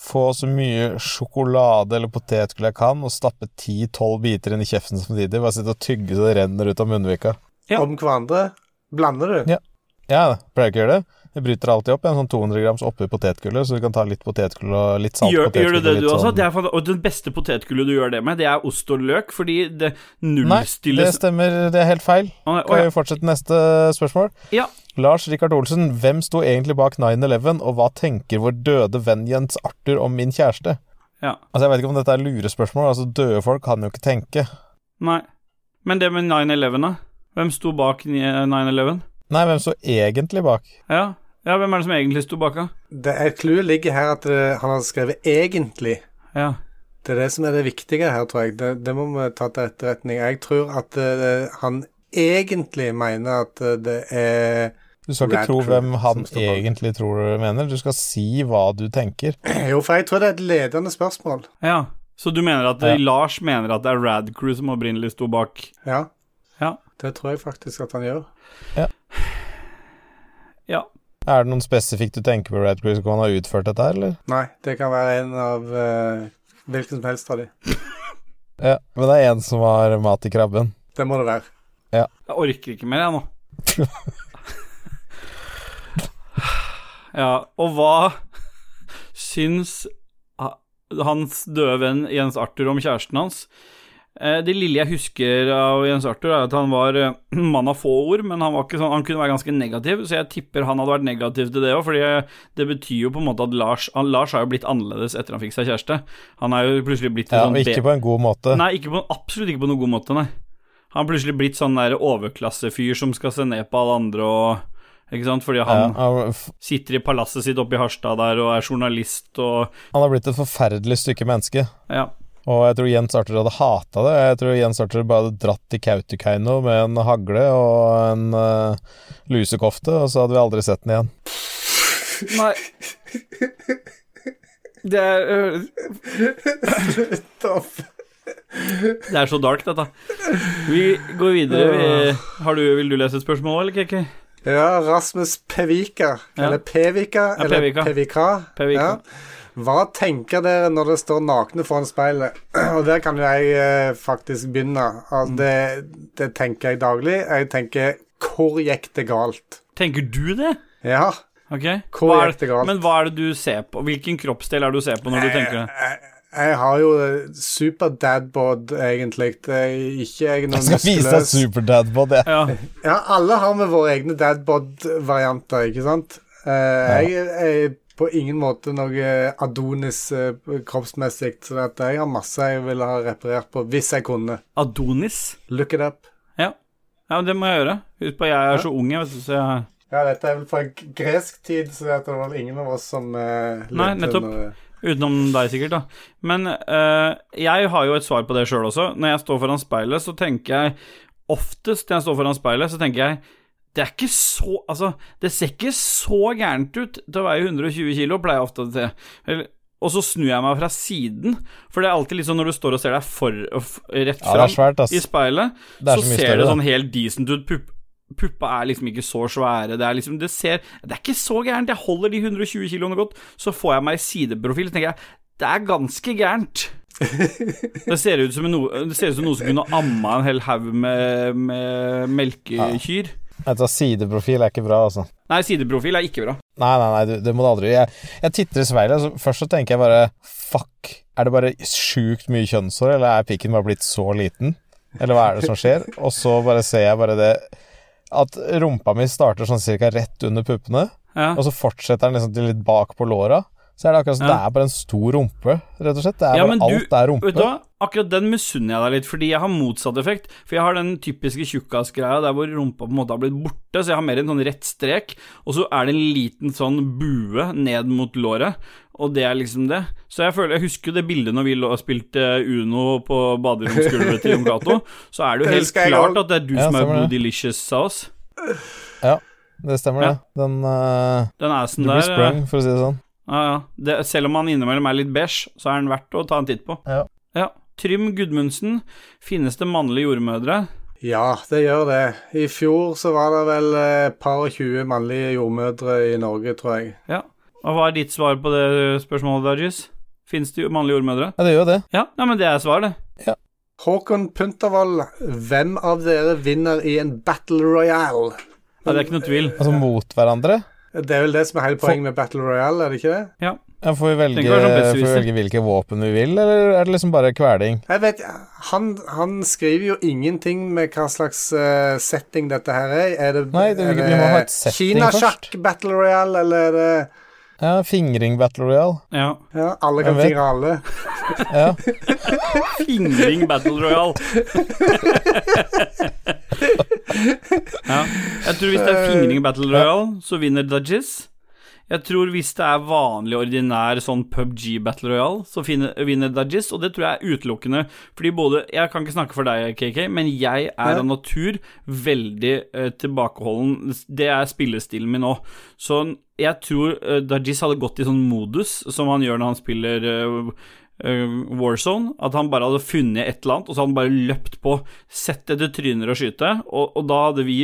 [SPEAKER 2] få så mye sjokolade eller potetgull jeg kan, og stappe 10-12 biter inn i kjeften samtidig. Bare sitte og tygge så det renner ut av munnvika.
[SPEAKER 1] Ja.
[SPEAKER 3] Om hverandre. Blander du?
[SPEAKER 2] Ja. Ja, pleier ikke å gjøre det. Jeg bryter alltid opp en sånn 200 grams oppi potetgullet, så du kan ta litt potetgull og litt salt
[SPEAKER 1] Gjør,
[SPEAKER 2] potetgull.
[SPEAKER 1] gjør du det
[SPEAKER 2] litt
[SPEAKER 1] du også?
[SPEAKER 2] sånn-
[SPEAKER 1] Det er, fan- og den beste potetgullet du gjør det med, det er ost og løk, fordi det
[SPEAKER 2] Nei, det
[SPEAKER 1] nullstilles
[SPEAKER 2] stemmer. Det er helt feil.
[SPEAKER 1] Å, nei, å,
[SPEAKER 2] Kan
[SPEAKER 1] ja.
[SPEAKER 2] vi fortsette neste spørsmål?
[SPEAKER 1] Ja.
[SPEAKER 2] Lars Rikard Olsen, hvem sto egentlig bak 9-11, og hva tenker vår døde venn Jens Arthur om min kjæreste?
[SPEAKER 1] Ja.
[SPEAKER 2] Altså, Jeg vet ikke om dette er lurespørsmål. altså Døde folk kan jo ikke tenke.
[SPEAKER 1] Nei. Men det med 9-11, da? Hvem sto bak ni- 9-11?
[SPEAKER 2] Nei, hvem sto egentlig bak?
[SPEAKER 1] Ja. ja, hvem er det som egentlig sto bak? da?
[SPEAKER 3] Det, et clue ligger her at eh, han har skrevet 'egentlig'.
[SPEAKER 1] Ja.
[SPEAKER 3] Det er det som er det viktige her, tror jeg. Det, det må vi ta til etterretning. Jeg tror at eh, han egentlig mener at eh, det er [clears throat]
[SPEAKER 2] Du skal ikke
[SPEAKER 3] Red
[SPEAKER 2] tro
[SPEAKER 3] Crew
[SPEAKER 2] hvem han
[SPEAKER 3] som sto bak.
[SPEAKER 2] egentlig tror du mener. Du skal si hva du tenker.
[SPEAKER 3] Jo, for jeg tror det er et ledende spørsmål.
[SPEAKER 1] ja. Så du mener at
[SPEAKER 2] Ja.
[SPEAKER 1] Lars mener at det er Rad Crew som opprinnelig sto bak?
[SPEAKER 3] Ja.
[SPEAKER 1] Ja.
[SPEAKER 3] Det tror jeg faktisk at han gjør.
[SPEAKER 1] Ja.
[SPEAKER 2] Er det noen spesifikt du tenker på Radcliffe som har utført dette her, eller?
[SPEAKER 3] Nei, det kan være en av eh, hvilken som helst av de.
[SPEAKER 2] Ja, men det er en som har mat i krabben.
[SPEAKER 3] Det må det være.
[SPEAKER 1] Jeg orker ikke mer, jeg
[SPEAKER 2] [laughs]
[SPEAKER 1] nå. ja, og hva syns ha- hans døde venn Jens Arthur om kjæresten hans? Eh, Det lille jeg husker av Jens Arthur, er at han var eh, [clears throat] mann av få ord, men han, var ikke sånn, han kunne være ganske negativ, så jeg tipper han hadde vært negativ til det òg, fordi eh, det betyr jo på en måte at Lars han, Lars har jo blitt annerledes etter han fikk seg kjæreste. Han er jo plutselig blitt
[SPEAKER 2] Ja,
[SPEAKER 1] sånn
[SPEAKER 2] og Liksom, ikke på en god måte.
[SPEAKER 1] Nei, ikke på, absolutt ikke på noen god måte, nei. Han er plutselig blitt sånn der overklassefyr som skal se ned på alle andre og Ikke sant, fordi
[SPEAKER 2] Ja,
[SPEAKER 1] han
[SPEAKER 2] han, f-
[SPEAKER 1] sitter i palasset sitt oppe i Harstad der og er journalist og
[SPEAKER 2] han har blitt et forferdelig stykke menneske.
[SPEAKER 1] Ja.
[SPEAKER 2] Og jeg tror Jens Arthur hadde hata det. Jeg tror Jens Arthur bare hadde dratt til Kautokeino med en hagle og en eh, lusekofte, og så hadde vi aldri sett den igjen.
[SPEAKER 1] Nei. Det er, øh,
[SPEAKER 3] Topp.
[SPEAKER 1] det er så dark, dette. Vi går videre. Vi, har du, vil du lese et spørsmål, eller, Kiki?
[SPEAKER 3] Ja, Rasmus Pevika,
[SPEAKER 1] Ja.
[SPEAKER 3] eller Pevika,
[SPEAKER 1] Ja,
[SPEAKER 3] eller
[SPEAKER 1] Pevika.
[SPEAKER 3] Pevika.
[SPEAKER 1] Pevika.
[SPEAKER 3] Ja. Hva tenker dere når dere står nakne foran speilet? [clears throat] Og der kan jo jeg eh, faktisk begynne.
[SPEAKER 1] Mm.
[SPEAKER 3] Altså, det, det tenker jeg daglig. Jeg tenker hvor gikk det galt?
[SPEAKER 1] Tenker du det?
[SPEAKER 3] Ja.
[SPEAKER 1] Ok.
[SPEAKER 3] Hvor
[SPEAKER 1] Hva er-
[SPEAKER 3] gikk det galt?
[SPEAKER 1] Men hva er det du ser på? Hvilken kroppsdel er det du ser på når du tenker det?
[SPEAKER 3] Jeg, jeg har jo super dadbod, egentlig. Det er Ikke jeg
[SPEAKER 1] [laughs]
[SPEAKER 3] er noen
[SPEAKER 2] Jeg skal vise deg
[SPEAKER 3] muskuløs-
[SPEAKER 2] superdadbod, jeg.
[SPEAKER 1] Ja.
[SPEAKER 3] Ja, alle har med våre egne dadbod-varianter, ikke sant? Eh, Jeg er på ingen måte noe Adonis eh, kroppsmessig, så det at jeg har masse jeg ville ha reparert på hvis jeg kunne.
[SPEAKER 1] Adonis?
[SPEAKER 3] Look it up.
[SPEAKER 1] Ja. ja, men det må jeg gjøre. Husk på, jeg er så ung, jeg, vet du, så jeg
[SPEAKER 3] Ja, dette er vel fra gresk tid, så det at det var ingen av oss som eh, levde
[SPEAKER 1] Nei, nettopp.
[SPEAKER 3] under-
[SPEAKER 1] Utenom deg, sikkert, da. Men eh, jeg har jo et svar på det sjøl også. Når jeg står foran speilet, så tenker jeg Oftest når jeg står foran speilet, så tenker jeg Det er ikke så Altså, det ser ikke så gærent ut til å veie 120 kilo, pleier jeg ofte å si. Eller- Og så snur jeg meg fra siden, for det er alltid litt sånn når du står og ser deg for, f- rett
[SPEAKER 2] Ja, det
[SPEAKER 1] fram
[SPEAKER 2] er svært, ass.
[SPEAKER 1] i speilet,
[SPEAKER 2] Det er
[SPEAKER 1] så,
[SPEAKER 2] så mye
[SPEAKER 1] ser
[SPEAKER 2] større,
[SPEAKER 1] det
[SPEAKER 2] da.
[SPEAKER 1] sånn helt decent ut. Pupp, puppa er liksom ikke så svære. Det er liksom Det ser Det er ikke så gærent. Jeg holder de 120 kiloene godt, så får jeg meg i sideprofil, så tenker jeg det er ganske
[SPEAKER 2] [laughs]
[SPEAKER 1] gærent. Det ser ut som noe, det ser ut som noe som kunne amma en hel haug med, med melkekyr.
[SPEAKER 2] Jeg tar sideprofil er ikke bra, altså.
[SPEAKER 1] Nei, sideprofil er ikke bra.
[SPEAKER 2] Nei, nei, nei, du- det må du aldri Jeg, jeg titter i speilet, så først så tenker jeg bare Fuck, er det bare sjukt mye kjønnshår, eller er pikken bare blitt så liten? Eller hva er det som skjer? Og så bare ser jeg bare det At rumpa mi starter sånn cirka rett under puppene,
[SPEAKER 1] Ja.
[SPEAKER 2] og så fortsetter den liksom til litt bak på låra. Så er det akkurat som
[SPEAKER 1] Ja.
[SPEAKER 2] det er bare en stor rumpe, rett og slett. Det er
[SPEAKER 1] Ja,
[SPEAKER 2] bare
[SPEAKER 1] men du-
[SPEAKER 2] alt er rumpe.
[SPEAKER 1] Vet du hva, akkurat den misunner jeg deg litt, fordi jeg har motsatt effekt. For jeg har den typiske tjukkasgreia der hvor rumpa på en måte har blitt borte, så jeg har mer en sånn rett strek, og så er det en liten sånn bue ned mot låret, og det er liksom det. Så jeg føler, jeg husker jo det bildet når vi lå- spilte Uno på baderomsgulvet til Jon
[SPEAKER 2] [laughs]
[SPEAKER 1] Cato, så er det
[SPEAKER 3] Det
[SPEAKER 1] jo helt
[SPEAKER 3] husker jeg
[SPEAKER 1] klart
[SPEAKER 3] også.
[SPEAKER 1] at det er du
[SPEAKER 2] Ja,
[SPEAKER 1] som er
[SPEAKER 2] stemmer det.
[SPEAKER 1] Blue Delicious av oss.
[SPEAKER 2] Ja, det stemmer,
[SPEAKER 1] Ja.
[SPEAKER 2] det. Den eh,
[SPEAKER 1] Den
[SPEAKER 2] Du
[SPEAKER 1] assen der
[SPEAKER 2] blir
[SPEAKER 1] eh,
[SPEAKER 2] sprung, for å si det sånn.
[SPEAKER 1] Ja, ja. Det, selv om han innimellom er litt beige, så er han verdt å ta en titt på.
[SPEAKER 2] Ja.
[SPEAKER 1] Trym Gudmundsen, finnes det mannlige jordmødre?
[SPEAKER 3] Ja, det gjør det. I fjor så var det vel eh, et par og tjue mannlige jordmødre i Norge, tror jeg.
[SPEAKER 1] Ja. Og hva er ditt svar på det spørsmålet, Dajis? Finnes det jo mannlige jordmødre?
[SPEAKER 2] Ja, det gjør jo det.
[SPEAKER 1] Ja, nei, men det er svaret, det.
[SPEAKER 3] Håkon Puntervold, hvem av dere vinner i en battle royale?
[SPEAKER 1] Ja, det er ikke noe tvil.
[SPEAKER 2] Altså mot hverandre.
[SPEAKER 3] Det er vel det som er hele poenget med Battle Royale, er det ikke det?
[SPEAKER 1] Ja.
[SPEAKER 2] Ja, får vi velge,
[SPEAKER 1] Tenk å være sånn
[SPEAKER 2] får vi
[SPEAKER 1] besserwisser.
[SPEAKER 2] velge hvilke våpen vi vil, eller er det liksom bare kveling?
[SPEAKER 3] Jeg vet, Han, han skriver jo ingenting med hva slags eh, setting dette her er. Er det,
[SPEAKER 2] Nei, det-
[SPEAKER 3] er
[SPEAKER 2] vi må ha et setting
[SPEAKER 3] Kinasjakk Battle Royale, eller er det
[SPEAKER 2] Ja, fingring battle royal.
[SPEAKER 1] ja.
[SPEAKER 3] ja, Alle
[SPEAKER 2] Jeg
[SPEAKER 3] kan
[SPEAKER 2] vet.
[SPEAKER 3] fingre alle.
[SPEAKER 2] Ja.
[SPEAKER 1] Fingring Battle Royale. [laughs] ja. Jeg tror hvis det er fingring Battle Royale, så vinner Dajis. Jeg tror hvis det er vanlig, ordinær sånn PubG Battle Royale, så finner, vinner Dajis, og det tror jeg er utelukkende. Fordi både Jeg kan ikke snakke for deg, KK, men jeg er av natur veldig eh, tilbakeholden. Det er spillestilen min nå. Så jeg tror eh, Dajis hadde gått i sånn modus som han gjør når han spiller eh, eh, Warzone, at han bare hadde funnet et eller annet, og så hadde han bare løpt på, sett etter tryner og skyte, og, og da hadde vi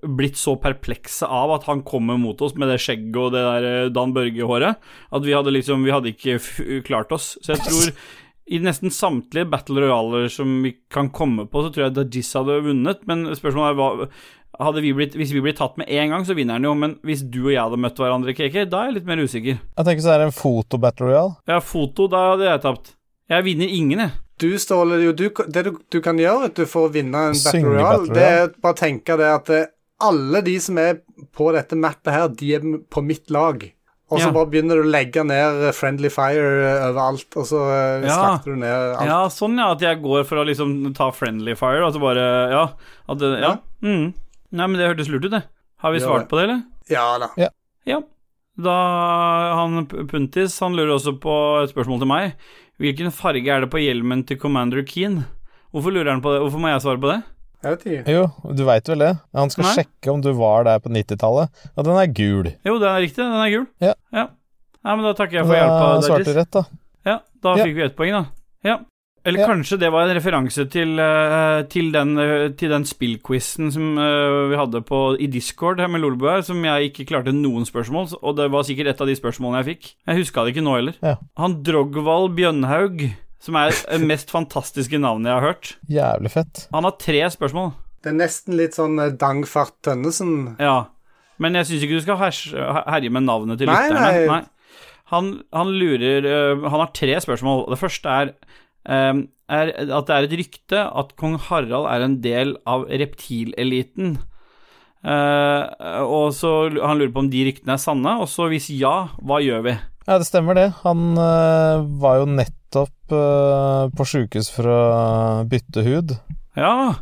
[SPEAKER 1] blitt så perplekse av at han kommer mot oss med det skjegget og det der eh, Dan Børge-håret, at vi hadde liksom, vi hadde ikke f klart oss. Så jeg tror i nesten samtlige battle royaler som vi kan komme på, så tror jeg Dajis hadde vunnet, men spørsmålet er hva hadde vi blitt, Hvis vi blir tatt med en gang, så vinner han jo, men hvis du og jeg hadde møtt hverandre, KK, da er jeg litt mer usikker.
[SPEAKER 2] Jeg tenker så er det en foto-battle royal.
[SPEAKER 1] Ja, foto, da hadde jeg tapt. Jeg vinner ingen, jeg.
[SPEAKER 3] Du, Ståle, jo, du, det du, du kan gjøre du, for å vinne en
[SPEAKER 2] Synge
[SPEAKER 3] Battle Royale,
[SPEAKER 2] Battle
[SPEAKER 3] det er bare å tenke det at eh, alle de som er på dette mappet her, de er m- på mitt lag. Og så
[SPEAKER 1] Ja.
[SPEAKER 3] bare begynner du å legge ned eh, Friendly Fire eh, overalt, og så eh,
[SPEAKER 1] Ja.
[SPEAKER 3] slakter du ned alt.
[SPEAKER 1] Ja, sånn ja, at jeg går for å liksom ta friendly fire, og så bare Ja. At det, ja. Mm. Nei, men det hørtes lurt ut, det. Har vi
[SPEAKER 3] Ja,
[SPEAKER 1] svart
[SPEAKER 3] det.
[SPEAKER 1] på det, eller?
[SPEAKER 3] Ja, da.
[SPEAKER 1] Ja. Da han P- Puntis, han lurer også på et spørsmål til meg. Hvilken farge er det på hjelmen til Commander Keen? Hvorfor lurer han på det? Hvorfor må jeg svare på det?
[SPEAKER 3] Jeg vet ikke.
[SPEAKER 2] Jo, du veit vel det? Han skal
[SPEAKER 1] Nei.
[SPEAKER 2] sjekke om du var der på 90-tallet, og den er gul.
[SPEAKER 1] Jo, det er riktig, den er gul.
[SPEAKER 2] Ja.
[SPEAKER 1] ja. Nei, men da takker jeg for hjelpa,
[SPEAKER 2] Da svarte
[SPEAKER 1] Dajis.
[SPEAKER 2] du rett, da.
[SPEAKER 1] Ja, da
[SPEAKER 2] Ja.
[SPEAKER 1] fikk vi ett poeng, da. Ja. Eller
[SPEAKER 2] Ja.
[SPEAKER 1] kanskje det var en referanse til, eh, til den, eh, til den spillquizen som eh, vi hadde på, i Discord her med Lolebua, som jeg ikke klarte noen spørsmål, og det var sikkert et av de spørsmålene jeg fikk. Jeg huska det ikke nå heller.
[SPEAKER 2] Ja.
[SPEAKER 1] Han Drogvald Bjønnhaug, som er det mest fantastiske navnet jeg har hørt,
[SPEAKER 2] Jævlig fett.
[SPEAKER 1] han har tre spørsmål.
[SPEAKER 3] Det er nesten litt sånn eh, Dangfart Tønnesen.
[SPEAKER 1] Ja. Men jeg syns ikke du skal hers- her- herje med navnet til
[SPEAKER 3] Nei,
[SPEAKER 1] lytterne.
[SPEAKER 3] nei.
[SPEAKER 1] Han, han lurer øh, Han har tre spørsmål. Det første er, ehm, er at det er et rykte at kong Harald er en del av reptileliten. Eh, og så l- Han lurer på om de ryktene er sanne, og så hvis ja, hva gjør vi?
[SPEAKER 2] Ja, det stemmer det. Han øh, var jo nettopp øh, på sjukehus for å bytte hud.
[SPEAKER 1] Ja,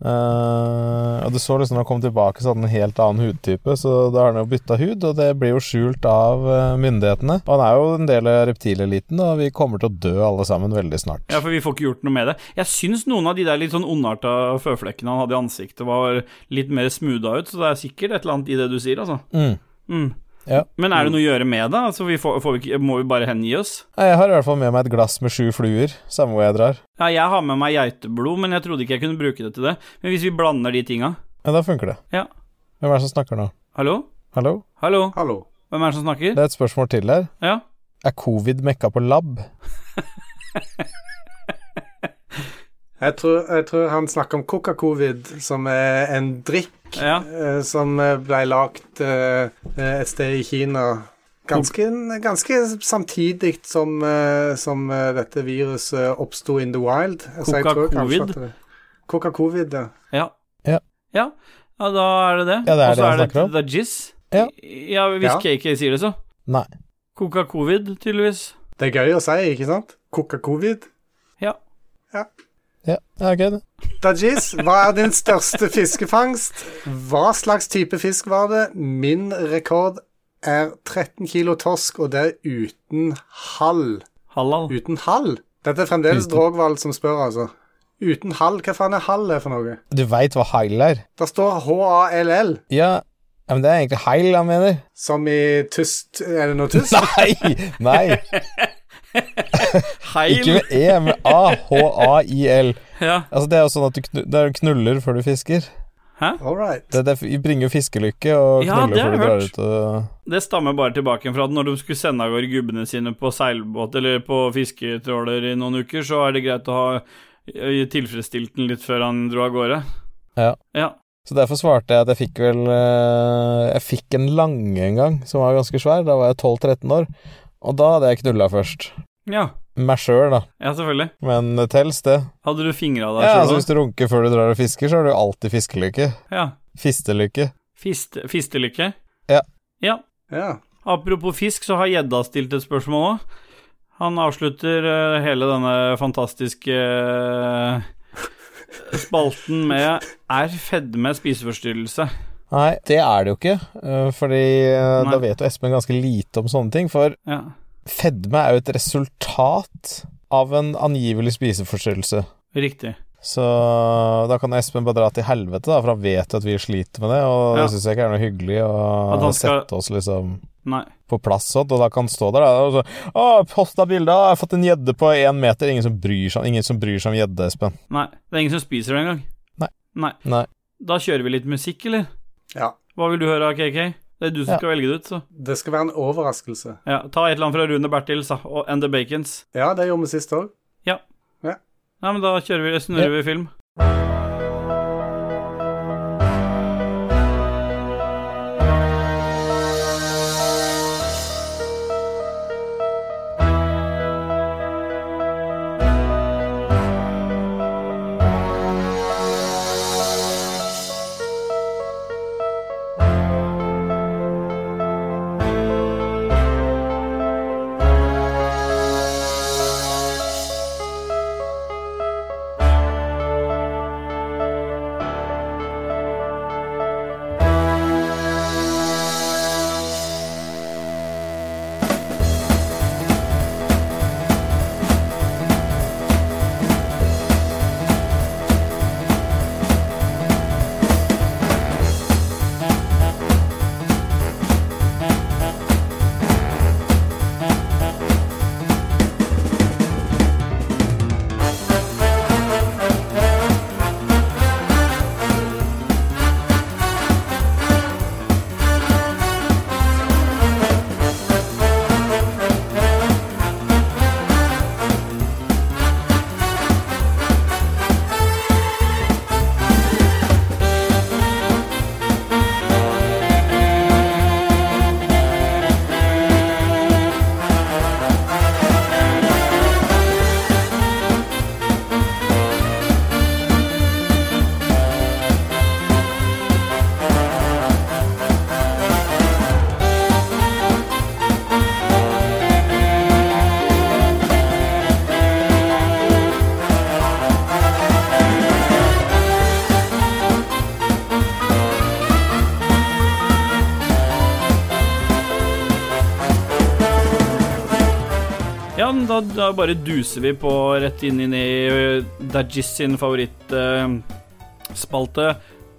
[SPEAKER 2] Eh, og du så liksom når han kom tilbake, så hadde han en helt annen hudtype, så da har han jo bytta hud, og det blir jo skjult av eh, myndighetene. Og han er jo en del av reptileliten, og vi kommer til å dø alle sammen veldig snart.
[SPEAKER 1] ja, for vi får ikke gjort noe med det. Jeg syns noen av de der litt sånn ondarta føflekkene han hadde i ansiktet, var litt mer smootha ut, så det er sikkert et eller annet i det du sier, altså.
[SPEAKER 2] Mm.
[SPEAKER 1] Mm.
[SPEAKER 2] Ja.
[SPEAKER 1] Men er det noe å gjøre med det? Altså, vi får, får vi ikke, må vi bare hengi oss?
[SPEAKER 2] Nei, Jeg har i hvert fall med meg et glass med sju fluer, samme hvor jeg drar.
[SPEAKER 1] Ja, jeg har med meg geiteblod, men jeg trodde ikke jeg kunne bruke det til det. Men hvis vi blander de tinga
[SPEAKER 2] Ja, da funker det.
[SPEAKER 1] Ja.
[SPEAKER 2] Hvem er det som snakker nå?
[SPEAKER 1] Hallo?
[SPEAKER 2] Hallo?
[SPEAKER 1] Hallo?
[SPEAKER 3] Hallo.
[SPEAKER 1] Hvem er det som snakker?
[SPEAKER 2] Det er et spørsmål til her.
[SPEAKER 1] Ja.
[SPEAKER 2] Er covid mekka på lab?
[SPEAKER 3] Jeg tror, jeg tror han snakker om Coca-Covid, som er en drikk
[SPEAKER 1] ja.
[SPEAKER 3] eh, som eh, ble lagt eh, et sted i Kina ganske, ganske samtidig som, eh, som eh, dette viruset oppsto in the wild. Så jeg tror kanskje
[SPEAKER 1] Coca-Covid?
[SPEAKER 3] at det- Coca-Covid, ja.
[SPEAKER 1] Ja.
[SPEAKER 2] Ja.
[SPEAKER 1] ja. Ja, da er det det.
[SPEAKER 2] Ja, det er
[SPEAKER 1] Og så
[SPEAKER 2] det han
[SPEAKER 1] er det
[SPEAKER 2] snakker om.
[SPEAKER 1] The Jizz.
[SPEAKER 2] Ja.
[SPEAKER 1] ja, hvis
[SPEAKER 3] Ja.
[SPEAKER 1] KK sier det, så.
[SPEAKER 2] Nei.
[SPEAKER 1] Koka covid, tydeligvis.
[SPEAKER 3] Det er gøy å si, ikke sant? Coca-Covid.
[SPEAKER 1] Ja.
[SPEAKER 2] Ja, ja ok. det.
[SPEAKER 3] Dajis, hva er din største fiskefangst? Hva slags type fisk var det? Min rekord er 13 kilo torsk, og det er uten halv.
[SPEAKER 1] Halal.
[SPEAKER 3] Uten halv? Dette er fremdeles
[SPEAKER 2] Uten.
[SPEAKER 3] Drogvald som spør, altså. Uten halv? Hva faen er halv er for noe?
[SPEAKER 2] Du veit hva heil er?
[SPEAKER 3] Det står H-A-L-L,
[SPEAKER 2] Ja, ja, men det er egentlig heil han mener.
[SPEAKER 3] som i tyst Er det noe tyst?
[SPEAKER 2] Nei! Nei. Ikke
[SPEAKER 1] [laughs] Heil.
[SPEAKER 2] med E, med A. H-a-i-l.
[SPEAKER 1] Ja.
[SPEAKER 2] Altså, det er jo sånn at du knu- det er jo knuller før du fisker.
[SPEAKER 3] All right.
[SPEAKER 2] Det, det bringer jo fiskelykke og
[SPEAKER 1] Ja,
[SPEAKER 2] knuller
[SPEAKER 1] det har
[SPEAKER 2] før du
[SPEAKER 1] jeg
[SPEAKER 2] drar
[SPEAKER 1] hørt.
[SPEAKER 2] ut og
[SPEAKER 1] Det stammer bare tilbake fra at når de skulle sende av gårde gubbene sine på seilbåt eller på fisketråler i noen uker, så er det greit å ha ø, tilfredsstilt den litt før han dro av gårde.
[SPEAKER 2] Ja.
[SPEAKER 1] Ja.
[SPEAKER 2] Så derfor svarte jeg at jeg fikk vel eh, Jeg fikk en lange en gang, som var ganske svær. Da var jeg 12-13 år. Og da hadde jeg knulla først.
[SPEAKER 1] Ja,
[SPEAKER 2] Meg sjøl, da.
[SPEAKER 1] ja selvfølgelig.
[SPEAKER 2] Men det tels, det.
[SPEAKER 1] Hadde du fingra deg
[SPEAKER 2] Ja, altså
[SPEAKER 1] sjøl
[SPEAKER 2] Hvis du runker før du drar og fisker, så har du alltid fiskelykke.
[SPEAKER 1] òg? Ja.
[SPEAKER 2] Fistelykke.
[SPEAKER 1] Fist, fistelykke?
[SPEAKER 2] Ja.
[SPEAKER 1] ja.
[SPEAKER 3] Ja.
[SPEAKER 1] Apropos fisk, så har gjedda stilt et spørsmål òg. Han avslutter eh, hele denne fantastiske eh, spalten med Er fedme spiseforstyrrelse?
[SPEAKER 2] Nei, det er det jo ikke. eh, Fordi eh,
[SPEAKER 1] Nei.
[SPEAKER 2] da vet jo Espen ganske lite om sånne ting. For
[SPEAKER 1] Ja.
[SPEAKER 2] Fedme er jo et resultat av en angivelig spiseforstyrrelse.
[SPEAKER 1] Riktig.
[SPEAKER 2] Så da kan Espen bare dra til helvete, da, for han vet jo at vi sliter med det, og
[SPEAKER 1] Ja.
[SPEAKER 2] det syns jeg ikke er noe hyggelig å
[SPEAKER 1] At han skal-
[SPEAKER 2] sette oss liksom
[SPEAKER 1] Nei.
[SPEAKER 2] på plass, sånn, og da kan han stå der. Da, og så, 'Å, posta bilde! Jeg har fått en gjedde på én meter!' Ingen som bryr seg, ingen som bryr seg om gjedde, Espen.
[SPEAKER 1] Nei. Det er ingen som spiser det engang.
[SPEAKER 2] Nei.
[SPEAKER 1] Nei.
[SPEAKER 2] Nei.
[SPEAKER 1] Da kjører vi litt musikk, eller?
[SPEAKER 3] Ja.
[SPEAKER 1] Hva vil du høre av KK? Det er du som
[SPEAKER 2] Ja.
[SPEAKER 1] skal velge det ut, så.
[SPEAKER 3] Det skal være en overraskelse.
[SPEAKER 1] Ja, ta et eller annet fra Rune Bertils da, og And The Bacons.
[SPEAKER 3] Ja, det gjorde vi sist òg.
[SPEAKER 1] Nei, men da kjører vi, snurrer vi film. Ja, men da, da bare duser vi på rett inn inn i ø, Dajis sin favorittspalte,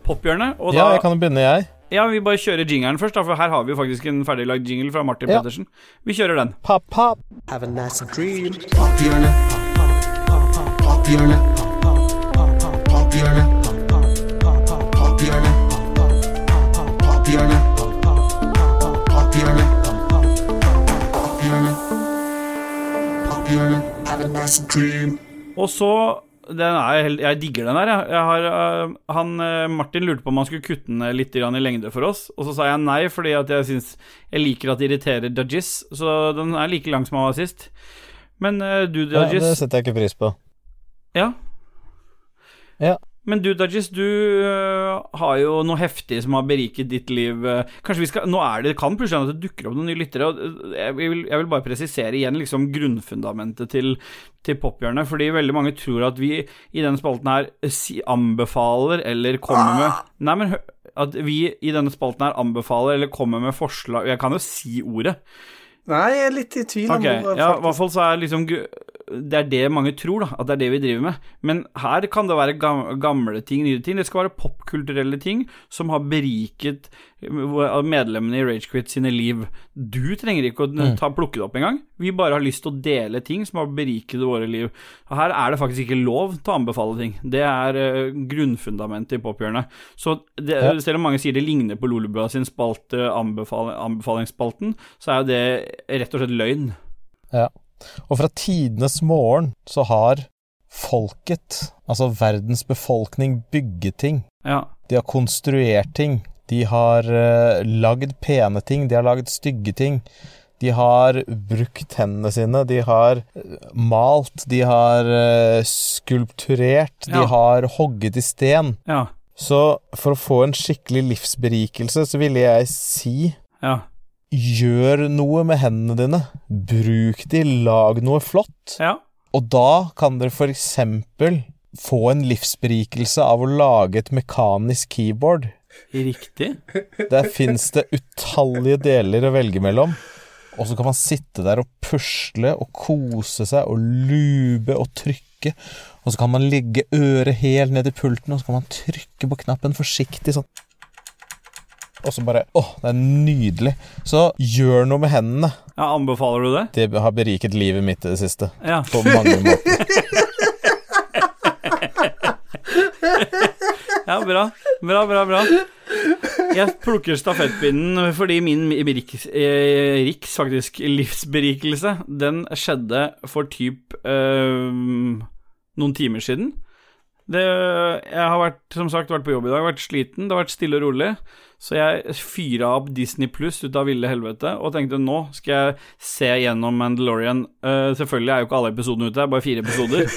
[SPEAKER 1] pophjørnet. Og da
[SPEAKER 2] Ja, jeg kan jo begynne, jeg.
[SPEAKER 1] Ja, vi bare kjører jingeren først, da, for her har vi jo faktisk en ferdiglagd jingle fra Martin
[SPEAKER 2] Ja.
[SPEAKER 1] Pettersen. Vi kjører den.
[SPEAKER 2] Pap, pap.
[SPEAKER 5] Have a nice dream.
[SPEAKER 6] Pophjørnet. Pophjørnet. Pophjørnet. Pophjørnet. Pophjørnet. Pophjørnet. Pophjørnet. Pophjørnet. Have a nice dream.
[SPEAKER 1] Og så den er, hel- Jeg digger den her, jeg. jeg har, ø, han, ø, Martin lurte på om han skulle kutte den ned litt grann i lengde for oss, og så sa jeg nei, fordi at jeg syns jeg liker at det irriterer Dajis, så den er like lang som han var sist. Men ø, du,
[SPEAKER 2] Ja, det
[SPEAKER 1] Dajis
[SPEAKER 2] setter jeg ikke pris på.
[SPEAKER 1] Ja.
[SPEAKER 2] Ja.
[SPEAKER 1] Men du, Dajis, du øh, har jo noe heftig som har beriket ditt liv. øh. Kanskje vi skal Nå er det, det kan plutselig hende at det dukker opp noen nye lyttere. og, øh, Jeg vil, jeg vil bare presisere igjen liksom grunnfundamentet til, til pophjørnet, fordi veldig mange tror at vi i denne spalten her eh, si, anbefaler eller kommer med Nei, men hø- at vi i denne spalten her anbefaler eller kommer med forslag Jeg kan jo si ordet.
[SPEAKER 3] Nei, jeg er litt i tvil om
[SPEAKER 1] Ok,
[SPEAKER 3] ordet.
[SPEAKER 1] ja, i
[SPEAKER 3] faktisk.
[SPEAKER 1] hvert fall så er liksom gru- Det er det mange tror, da, at det er det vi driver med. Men her kan det være gam- gamle ting, nye ting. Det skal være popkulturelle ting som har beriket eh, medlemmene i Ragequit sine liv. Du trenger ikke å ta, plukke det opp engang. Vi bare har lyst til å dele ting som har beriket våre liv. Og her er det faktisk ikke lov til å anbefale ting. Det er eh, grunnfundamentet i pophjørnet. Så det,
[SPEAKER 2] Ja.
[SPEAKER 1] selv om mange sier det ligner på Lolebua sin spalte, anbefal, anbefalingsspalten, så er jo det rett og slett løgn.
[SPEAKER 2] Ja. Og fra tidenes morgen så har folket, altså verdens befolkning, bygget ting.
[SPEAKER 1] Ja.
[SPEAKER 2] De har konstruert ting. De har uh, lagd pene ting. De har lagd stygge ting. De har brukt hendene sine. De har eh, malt. De har eh,
[SPEAKER 1] Ja.
[SPEAKER 2] skulpturert. De har hogget i sten.
[SPEAKER 1] Ja.
[SPEAKER 2] Så for å få en skikkelig livsberikelse, så ville jeg si
[SPEAKER 1] Ja.
[SPEAKER 2] Gjør noe med hendene dine. Bruk de, lag noe flott.
[SPEAKER 1] Ja.
[SPEAKER 2] Og da kan dere for eksempel få en livsberikelse av å lage et mekanisk keyboard.
[SPEAKER 1] Riktig.
[SPEAKER 2] Der fins det utallige deler å velge mellom. Og så kan man sitte der og pusle og kose seg og lube og trykke. Og så kan man ligge øret helt ned i pulten, og så kan man trykke på knappen forsiktig sånn. Og så bare Å, det er nydelig. Så gjør noe med hendene.
[SPEAKER 1] Ja, anbefaler du det?
[SPEAKER 2] Det har beriket livet mitt i det siste.
[SPEAKER 1] Ja.
[SPEAKER 2] På
[SPEAKER 1] [laughs]
[SPEAKER 2] mange måter.
[SPEAKER 1] Ja, bra. Bra, bra, bra. Jeg plukker stafettpinnen fordi min riks, eh, riks faktisk, livsberikelse, den skjedde for typ eh, noen timer siden. Det, jeg har vært, som sagt, vært på jobb i dag, vært sliten, det har vært stille og rolig. Så jeg fyra opp Disney Pluss ut av ville helvete og tenkte nå skal jeg se gjennom Mandalorian. Eh, selvfølgelig er jo ikke alle episodene ute, det er bare fire episoder.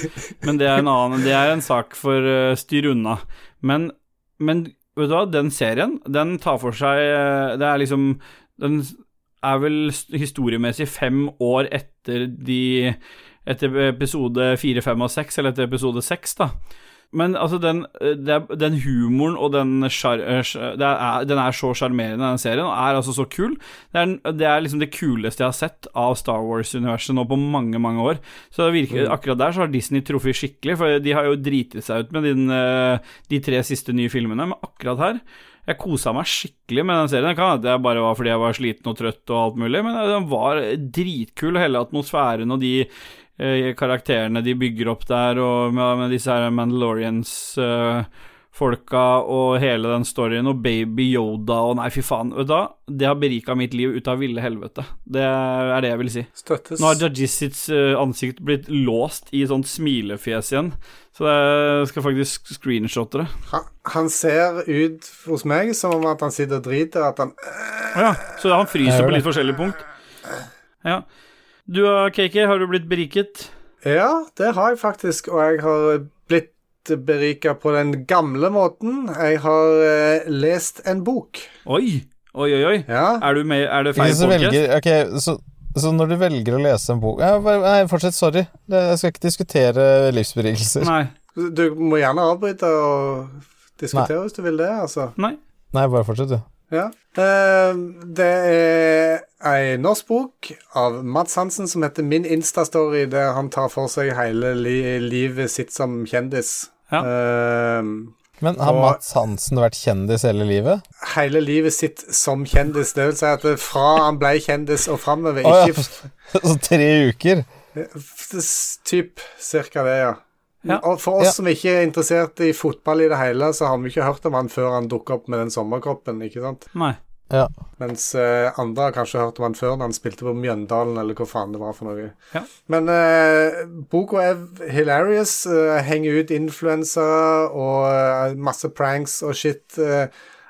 [SPEAKER 1] Men det er en, annen, det er en sak for eh, styr unna. Men, men vet du hva, den serien, den tar for seg eh, Det er liksom Den er vel s- historiemessig fem år etter de Etter episode fire, fem og seks, eller etter episode seks, da. Men altså, den, eh, det er- den humoren og den sjar- eh, sj- det er, Den er så sjarmerende, den serien, og er altså så kul. Det er, den- det er liksom det kuleste jeg har sett av Star Wars-universet nå på mange, mange år. Så det virker, akkurat der så har Disney truffet skikkelig, for de har jo driti seg ut med din, eh, de tre siste nye filmene, men akkurat her jeg kosa meg skikkelig med den serien. Det kan hende at jeg bare var fordi jeg var sliten og trøtt og alt mulig, men den var dritkul, og hele atmosfæren og de eh, karakterene de bygger opp der, og med, med disse her Mandalorians eh, Folka og hele den storyen, og Baby Yoda og nei, fy faen. Vet du hva? Det har berika mitt liv ut av ville helvete. Det er det jeg vil si.
[SPEAKER 3] Støttes.
[SPEAKER 1] Nå har Jajisits ansikt blitt låst i sånt smilefjes igjen, så jeg skal faktisk screenshotte det.
[SPEAKER 3] Han, han ser ut hos meg som om at han sitter og driter, og at han
[SPEAKER 1] Ja, så han
[SPEAKER 2] Jeg
[SPEAKER 1] fryser
[SPEAKER 2] gjør
[SPEAKER 1] på litt
[SPEAKER 2] det.
[SPEAKER 1] forskjellige punkt. Ja. Du og KK, har du blitt beriket?
[SPEAKER 3] Ja, det har jeg faktisk, og jeg har blitt berika på den gamle måten. Jeg har eh, lest en bok.
[SPEAKER 1] Oi, oi, oi. oi.
[SPEAKER 3] Ja.
[SPEAKER 1] Er, du med, er det feil
[SPEAKER 2] Hvis du
[SPEAKER 1] podcast?
[SPEAKER 2] velger Ok, så så når du velger å lese en bok ja, bare- Nei, fortsett. Sorry. Det- Jeg skal ikke diskutere livsberikelser. Nei.
[SPEAKER 1] Nei.
[SPEAKER 3] Du må gjerne avbryte og diskutere hvis du vil det, altså.
[SPEAKER 1] Nei.
[SPEAKER 2] bare fortsett, du.
[SPEAKER 3] Ja. Eh, Det er ei norsk bok av Mads Hansen som heter Min Instastory, der han tar for seg hele li livet sitt som kjendis.
[SPEAKER 1] Ja.
[SPEAKER 3] Eh,
[SPEAKER 2] Men har
[SPEAKER 3] Og-
[SPEAKER 2] Mats Hansen vært kjendis hele livet? [laughs]
[SPEAKER 3] hele livet sitt som kjendis. Det vil si at det er fra han ble kjendis og framover.
[SPEAKER 2] Å ja.
[SPEAKER 3] Ikke f-
[SPEAKER 2] Så Altså, tre uker?
[SPEAKER 3] S- Typ cirka det, ja.
[SPEAKER 1] Ja.
[SPEAKER 3] Og for oss
[SPEAKER 2] Ja.
[SPEAKER 3] som ikke er interessert i fotball i det hele, så har vi ikke hørt om han før han dukket opp med den sommerkroppen, ikke sant?
[SPEAKER 1] Nei.
[SPEAKER 2] Ja.
[SPEAKER 3] Mens eh, andre har kanskje hørt om han før når han spilte på Mjøndalen, eller hva faen det var for noe.
[SPEAKER 1] Ja.
[SPEAKER 3] Men eh, boka er hilarious. eh, henger ut influensere og eh, masse pranks og shit. eh.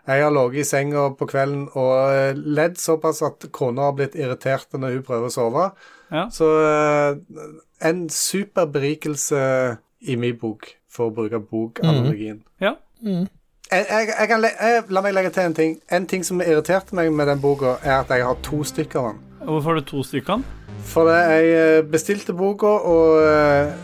[SPEAKER 3] jeg har ligget i senga på kvelden og eh, ledd såpass at kona har blitt irritert når hun prøver å sove.
[SPEAKER 1] Ja.
[SPEAKER 3] Så eh, en super berikelse i min bok, for å bruke bokanalogien.
[SPEAKER 1] Ja.
[SPEAKER 3] Jeg, jeg, jeg kan le jeg, la meg legge til en ting. En ting som irriterte meg med den boka, er at jeg har to stykker av den.
[SPEAKER 1] Hvorfor har du to stykker?
[SPEAKER 3] For det- jeg eh, bestilte boka og eh,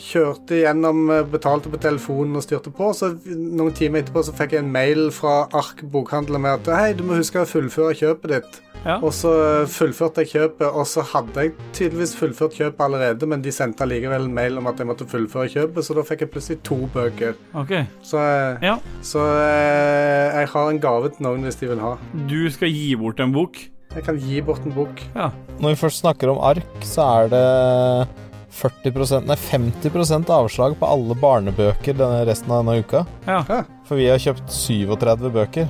[SPEAKER 3] kjørte gjennom, eh, betalte på telefonen og styrte på. Så noen timer etterpå så fikk jeg en mail fra Ark bokhandler med at hei, du må huske å fullføre kjøpet ditt.
[SPEAKER 1] Ja.
[SPEAKER 3] Og så eh, fullførte jeg kjøpet, og så hadde jeg tydeligvis fullført kjøpet allerede, men de sendte allikevel en mail om at jeg måtte fullføre kjøpet, så da fikk jeg plutselig to bøker.
[SPEAKER 1] Ok.
[SPEAKER 3] Så, eh,
[SPEAKER 1] Ja.
[SPEAKER 3] så eh, jeg har en gave til noen hvis de vil ha.
[SPEAKER 1] Du skal gi bort en bok.
[SPEAKER 3] Jeg kan gi bort en bok.
[SPEAKER 1] Ja.
[SPEAKER 2] Når vi først snakker om ark, så er det 40 Nei, 50 avslag på alle barnebøker denne resten av denne uka.
[SPEAKER 1] Ja.
[SPEAKER 2] For vi har kjøpt 37 bøker.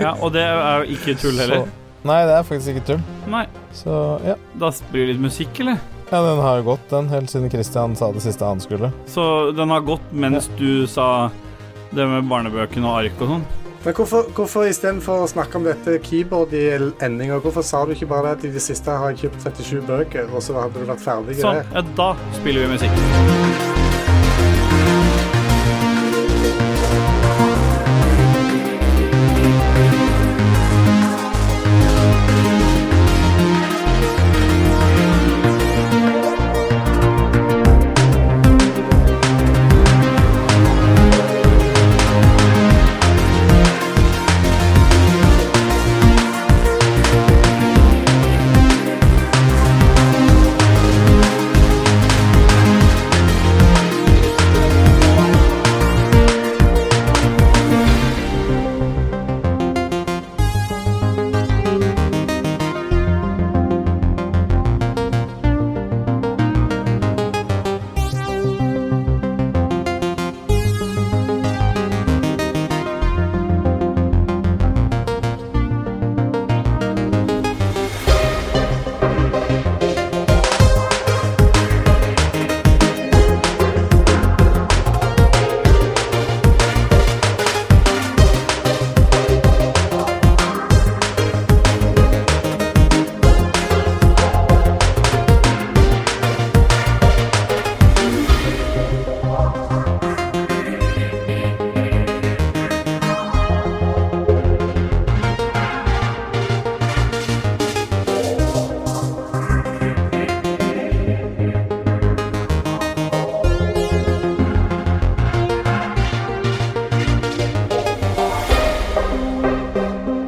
[SPEAKER 1] ja. Og det er jo ikke tull heller.
[SPEAKER 2] Så, nei, det er faktisk ikke tull.
[SPEAKER 1] Nei.
[SPEAKER 2] Så ja.
[SPEAKER 1] Da spiller vi litt musikk, eller?
[SPEAKER 2] ja, den har jo gått, den, helt siden Christian sa det siste han skulle.
[SPEAKER 1] Så den har gått mens du sa det med barnebøkene og ark og sånn?
[SPEAKER 3] Men hvorfor, hvorfor istedenfor å snakke om dette keyboard i endinga, hvorfor sa du ikke bare at i det siste har jeg kjøpt 37 bøker, og så hadde du vært ferdig
[SPEAKER 1] Sånn.
[SPEAKER 3] der?
[SPEAKER 1] Ja, da spiller vi musikk.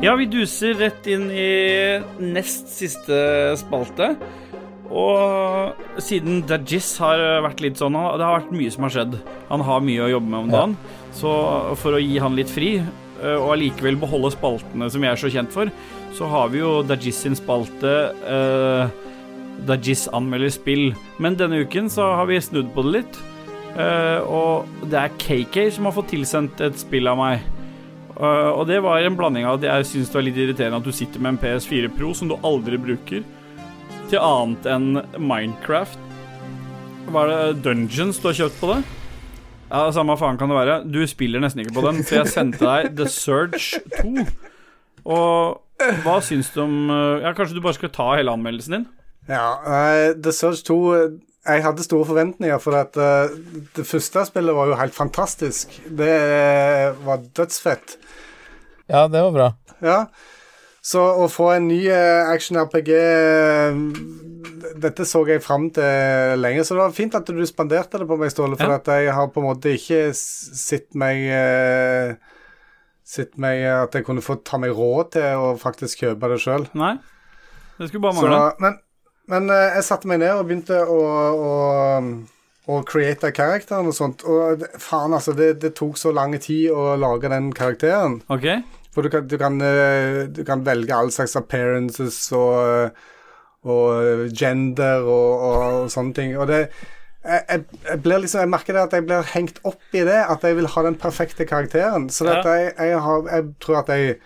[SPEAKER 1] Ja, vi duser rett inn i nest siste spalte. Og siden Dajis har vært litt sånn og Det har vært mye som har skjedd. Han har mye å jobbe med om dagen. Så for å gi han litt fri, eh, og allikevel beholde spaltene som jeg er så kjent for, så har vi jo Dajis sin spalte eh, Dajis anmelder spill. Men denne uken så har vi snudd på det litt. Eh, og det er KK som har fått tilsendt et spill av meg. Uh, og det var en blanding av at jeg syns det var litt irriterende at du sitter med en PS4 Pro som du aldri bruker, til annet enn Minecraft. Var det Dungeons du har kjøpt på det? Ja, samme faen kan det være. Du spiller nesten ikke på den, så jeg sendte deg The Surge 2. Og hva syns du om uh, Ja, kanskje du bare skal ta hele anmeldelsen din?
[SPEAKER 3] Ja, nei, The Surge 2 eh, Jeg hadde store forventninger, for at eh, det første spillet var jo helt fantastisk. Det eh, var dødsfett.
[SPEAKER 2] Ja, det var bra.
[SPEAKER 3] Ja. Så å få en ny eh, action-RPG eh, Dette så jeg fram til lenge, så det var fint at du spanderte det på meg, Ståle, for
[SPEAKER 1] Ja.
[SPEAKER 3] at jeg har på en måte ikke s- sett meg eh, Sett meg eh, at jeg kunne få ta meg råd til å faktisk kjøpe det sjøl.
[SPEAKER 1] Nei? Det skulle bare
[SPEAKER 3] Så,
[SPEAKER 1] mangle.
[SPEAKER 3] men men eh, jeg satte meg ned og begynte å, å, å create karakteren og sånt. Og det- faen, altså, det, det tok så lang tid å lage den karakteren.
[SPEAKER 1] OK?
[SPEAKER 3] For du kan, du kan, eh, du kan velge all slags appearances og, eh, og eh, gender og, og, og sånne ting. Og det jeg, jeg, jeg, blir liksom, jeg merker det at jeg blir hengt opp i det, at jeg vil ha den perfekte karakteren. Så
[SPEAKER 1] Ja.
[SPEAKER 3] dette, jeg, jeg, har, jeg tror at jeg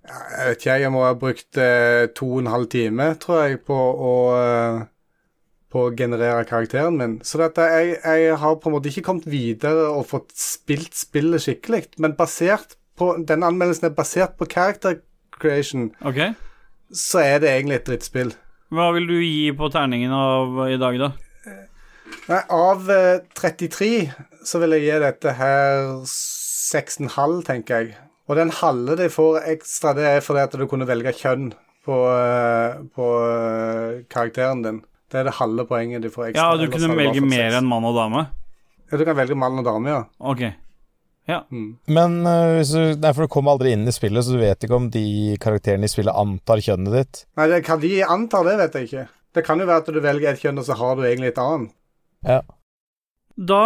[SPEAKER 3] Jeg vet ikke, jeg må ha brukt eh, to og en halv time, tror jeg, på å eh, på å generere karakteren min. Så dette, jeg, jeg har på en måte ikke kommet videre og fått spilt spillet skikkelig, men basert på, denne anmeldelsen er basert på character creation,
[SPEAKER 1] ok
[SPEAKER 3] så er det egentlig et drittspill.
[SPEAKER 1] Hva vil du gi på terningen av i dag, da?
[SPEAKER 3] Nei, av eh, 33 så vil jeg gi dette her 6,5, tenker jeg. Og den halve de får ekstra, det er fordi at du kunne velge kjønn på, eh, på eh, karakteren din. Det er det halve poenget de får ekstra.
[SPEAKER 1] Ja, du
[SPEAKER 3] ellers
[SPEAKER 1] kunne
[SPEAKER 3] hadde det bare
[SPEAKER 1] velge
[SPEAKER 3] fått
[SPEAKER 1] mer
[SPEAKER 3] seks.
[SPEAKER 1] enn mann og dame?
[SPEAKER 3] Ja, du kan velge mann og dame, ja.
[SPEAKER 1] OK.
[SPEAKER 2] Men eh, hvis du, nei, for du kom aldri inn i spillet, så du vet ikke om de karakterene i spillet antar kjønnet ditt.
[SPEAKER 3] Nei, det, hva de antar, det vet jeg ikke. Det kan jo være at du velger et kjønn, og så har du egentlig et annet.
[SPEAKER 2] Ja.
[SPEAKER 1] Da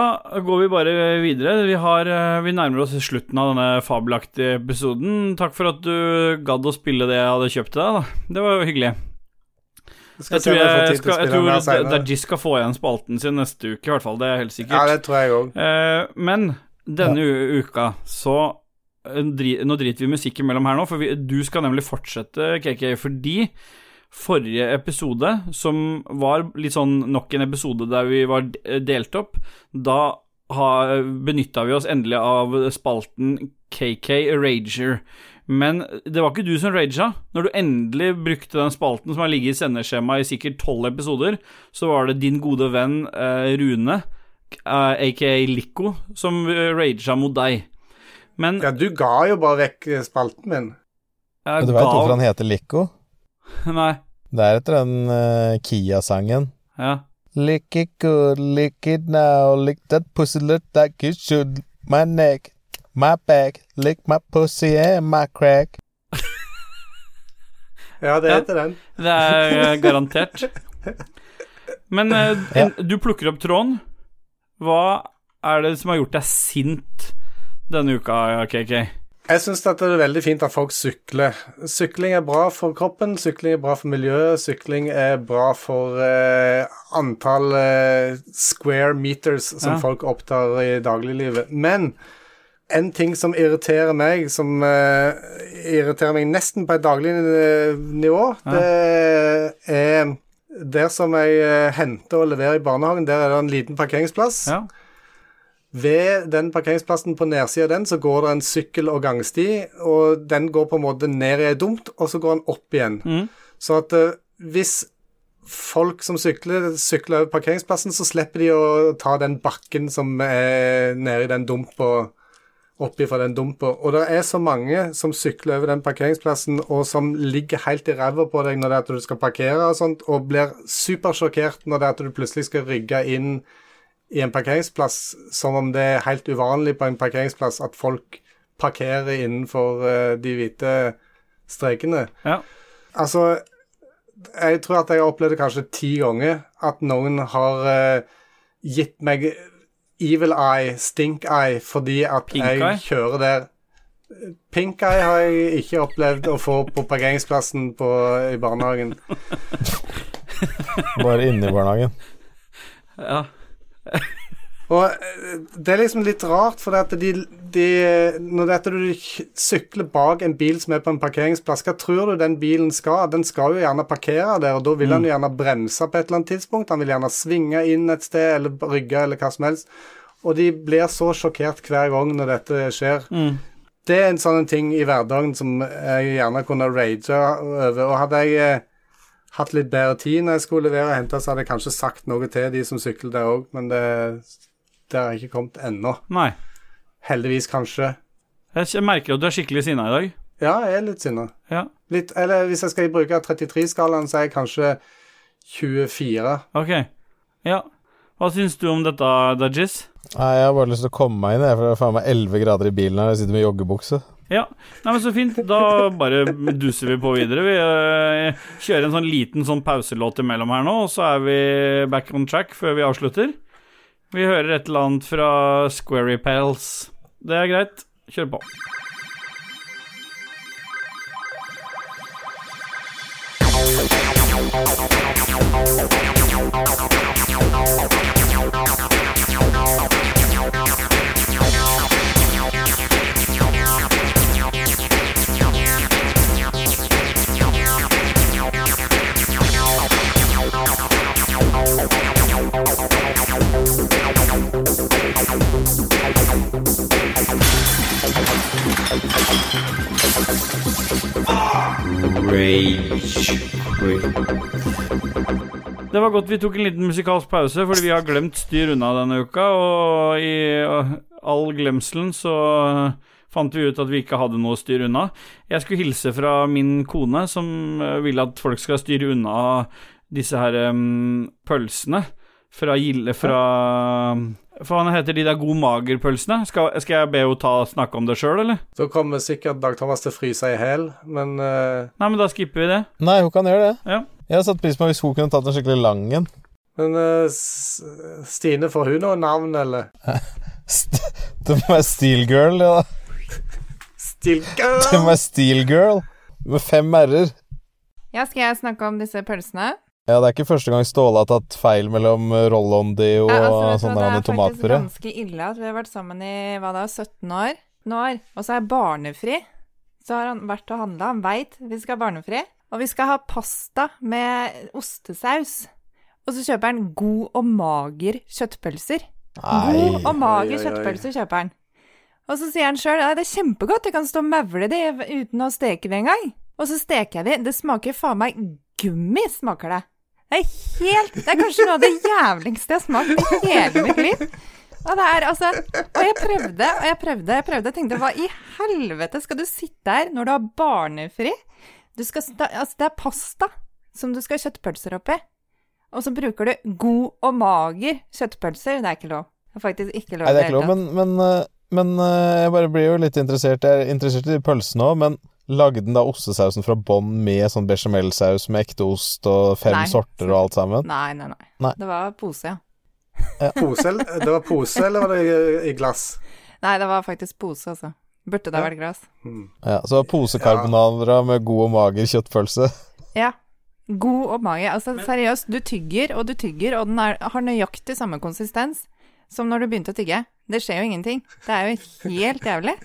[SPEAKER 1] går vi bare videre. Vi, har, eh, vi nærmer oss slutten av denne fabelaktige episoden. Takk for at du gadd å spille det jeg hadde kjøpt til deg. Da. Det var jo hyggelig.
[SPEAKER 3] Skal
[SPEAKER 1] Jeg
[SPEAKER 3] se om
[SPEAKER 1] tror,
[SPEAKER 3] jeg får
[SPEAKER 1] jeg
[SPEAKER 3] tid til å
[SPEAKER 1] skal, jeg
[SPEAKER 3] spille mer
[SPEAKER 1] tror
[SPEAKER 3] senere.
[SPEAKER 1] Dajis skal få igjen spalten sin neste uke, i hvert fall. Det er helt sikkert.
[SPEAKER 3] Ja, det tror jeg òg.
[SPEAKER 1] Eh, men denne u- uka så eh, dri, Nå driter vi musikken mellom her nå, for vi, du skal nemlig fortsette, KK, fordi forrige episode, som var litt sånn nok en episode der vi var d- eh, delt opp, da benytta vi oss endelig av spalten KK Rager. Men det var ikke du som raga. Når du endelig brukte den spalten som har ligget i sendeskjemaet i sikkert tolv episoder, så var det din gode venn eh, Rune eh, aka Lico, som eh, raga mot deg. Men
[SPEAKER 3] Ja, du ga jo bare vekk eh, spalten min.
[SPEAKER 1] jeg
[SPEAKER 2] Men du veit hvorfor han heter Lico?
[SPEAKER 1] Nei.
[SPEAKER 2] Det er etter den eh, Kia-sangen.
[SPEAKER 1] Ja.
[SPEAKER 2] Lick it good, lick it now, lick that pussy look like it should. My neck, my back, lick my pussy and my crack.
[SPEAKER 3] Ja, det
[SPEAKER 1] Ja.
[SPEAKER 3] heter den.
[SPEAKER 1] Det er eh, garantert. Men eh, en, du plukker opp tråden. Hva er det som har gjort deg sint denne uka, KK?
[SPEAKER 3] Jeg syns det er veldig fint at folk sykler. Sykling er bra for kroppen, sykling er bra for miljøet, sykling er bra for eh, antall eh, square meters
[SPEAKER 1] Ja.
[SPEAKER 3] som folk opptar i dagliglivet. Men en ting som irriterer meg, som eh, irriterer meg nesten på et daglig eh, nivå, det er der som jeg eh, henter og leverer i barnehagen, der er det en liten parkeringsplass.
[SPEAKER 1] Ja.
[SPEAKER 3] Ved den parkeringsplassen på nedsida av den, så går det en sykkel- og gangsti, og den går på en måte ned i ei dumt, og så går den opp igjen. Så at eh, hvis folk som sykler, sykler over parkeringsplassen, så slipper de å ta den bakken som er nede i den dumpa, oppi fra den dumpa. Og det er så mange som sykler over den parkeringsplassen, og som ligger helt i ræva på deg når det er at du skal parkere og sånt, og blir supersjokkert når det er at du plutselig skal rygge inn i en parkeringsplass, som om det er helt uvanlig på en parkeringsplass at folk parkerer innenfor eh, de hvite strekene.
[SPEAKER 1] Ja.
[SPEAKER 3] Altså, jeg tror at jeg har opplevd det kanskje ti ganger at noen har eh, gitt meg evil eye, stink eye, fordi at
[SPEAKER 1] Pink
[SPEAKER 3] jeg
[SPEAKER 1] eye?
[SPEAKER 3] kjører der. Pink eye har jeg ikke opplevd å få på parkeringsplassen på, i barnehagen.
[SPEAKER 2] Bare inne i barnehagen.
[SPEAKER 1] ja.
[SPEAKER 3] Og eh, det er liksom litt rart, for at de, de Når dette du k- sykler bak en bil som er på en parkeringsplass, hva tror du den bilen skal? Den skal jo gjerne parkere der, og da vil han jo gjerne bremse på et eller annet tidspunkt. Han vil gjerne svinge inn et sted, eller rygge, eller hva som helst. Og de blir så sjokkert hver gang når dette skjer. Det er en sånn ting i hverdagen som jeg gjerne kunne rage over. Og hadde jeg eh, hatt litt bedre tid når jeg skulle levere og hente, så hadde jeg kanskje sagt noe til de som sykler der òg, men det, det har jeg ikke kommet ennå.
[SPEAKER 1] Nei.
[SPEAKER 3] Heldigvis, kanskje.
[SPEAKER 1] Jeg kj- merker at du er skikkelig sinna i dag.
[SPEAKER 3] Ja, jeg er litt sinna.
[SPEAKER 1] Ja.
[SPEAKER 3] Litt, eller hvis jeg skal bruke 33-skalaen, så er jeg kanskje 24.
[SPEAKER 1] Ok. Ja. Hva syns du om dette, Dudgies?
[SPEAKER 2] Nei, jeg har bare lyst til å komme meg inn, jeg, for det er faen meg 11 grader i bilen her, og jeg sitter med joggebukse.
[SPEAKER 1] Ja, Nei, men så fint. Da bare duser vi på videre. Vi eh, kjører en sånn liten sånn pauselåt imellom her nå, og så er vi back on track før vi avslutter. Vi hører et eller annet fra Squarry Pals. Det er greit. Kjør på. Det var godt vi tok en liten musikalsk pause, fordi vi har glemt styr unna denne uka. Og i eh, all glemselen så eh, fant vi ut at vi ikke hadde noe styr unna. Jeg skulle hilse fra min kone, som eh, vil at folk skal styre unna disse her em, pølsene fra Gilde fra Faen, hva heter de der God mager-pølsene? Skal, skal jeg be henne ta snakke om det sjøl, eller?
[SPEAKER 3] Da kommer sikkert Dag Thomas til å fryse i hæl, men eh,
[SPEAKER 1] Nei, men da skipper vi det.
[SPEAKER 2] Nei, hun kan gjøre det.
[SPEAKER 1] Ja.
[SPEAKER 2] Jeg hadde satt pris på hvis hun kunne tatt en skikkelig lang en.
[SPEAKER 3] Men eh, S- Stine, får hun noe navn, eller?
[SPEAKER 2] St- [laughs] Det må være Steelgirl, ja. Det må
[SPEAKER 3] Stilke!
[SPEAKER 2] være Steelgirl med fem r-er.
[SPEAKER 5] Ja, skal jeg snakke om disse pølsene?
[SPEAKER 2] Ja, det er ikke første gang Ståle har tatt feil mellom eh, roll-on-deo
[SPEAKER 5] Ja,
[SPEAKER 2] og
[SPEAKER 5] altså, vet
[SPEAKER 2] sånn
[SPEAKER 5] du
[SPEAKER 2] der
[SPEAKER 5] hva, Det er faktisk
[SPEAKER 2] tomatpuré.
[SPEAKER 5] ganske ille at vi har vært sammen i hva da, 17 år, nå år, og så er jeg barnefri. Så har han vært og handla, han veit vi skal ha barnefri. Og vi skal ha pasta med ostesaus. Og så kjøper han god og mager kjøttpølser. God
[SPEAKER 2] Nei.
[SPEAKER 5] og mager
[SPEAKER 3] Oi, oi, oi.
[SPEAKER 5] kjøttpølser kjøper han. Og så sier han sjøl at det er kjempegodt, jeg kan stå og maule det uten å steke det engang. Og så steker jeg det. Det smaker faen meg gummi, smaker det. Det er helt Det er kanskje noe av det jævligste jeg har smakt i hele mitt liv. Og det er altså Og jeg prøvde og jeg prøvde jeg prøvde. Jeg tenkte hva i helvete skal du sitte her når du har barnefri? Du skal, sta- altså, det er pasta som du skal ha kjøttpølser oppi. Og så bruker du god og mager kjøttpølser. Det er ikke lov. Det er faktisk ikke lov.
[SPEAKER 2] Nei, det
[SPEAKER 5] i
[SPEAKER 2] er ikke lov,
[SPEAKER 5] hele tatt.
[SPEAKER 2] men, men, eh, men eh, jeg bare blir jo litt interessert. Jeg er interessert i de pølsene òg, men lagde den da ostesausen fra bånn med sånn bechamelsaus med ekte ost og fem
[SPEAKER 5] Nei.
[SPEAKER 2] sorter og alt sammen?
[SPEAKER 5] Nei, nei, nei.
[SPEAKER 2] Nei.
[SPEAKER 5] Det var pose, ja.
[SPEAKER 3] Pose, eller- det var pose, eller var det i- i glass?
[SPEAKER 5] Nei, det var faktisk pose, altså. Burde det ha vært glass.
[SPEAKER 2] Ja, så posekarbonara med god og mager
[SPEAKER 5] [laughs]
[SPEAKER 2] kjøttpølse.
[SPEAKER 5] Ja. God og mage. Altså, seriøst, du tygger og du tygger, og den er, har nøyaktig samme konsistens som når du begynte å tygge. Det skjer jo ingenting. Det er jo helt
[SPEAKER 1] [laughs]
[SPEAKER 5] jævlig.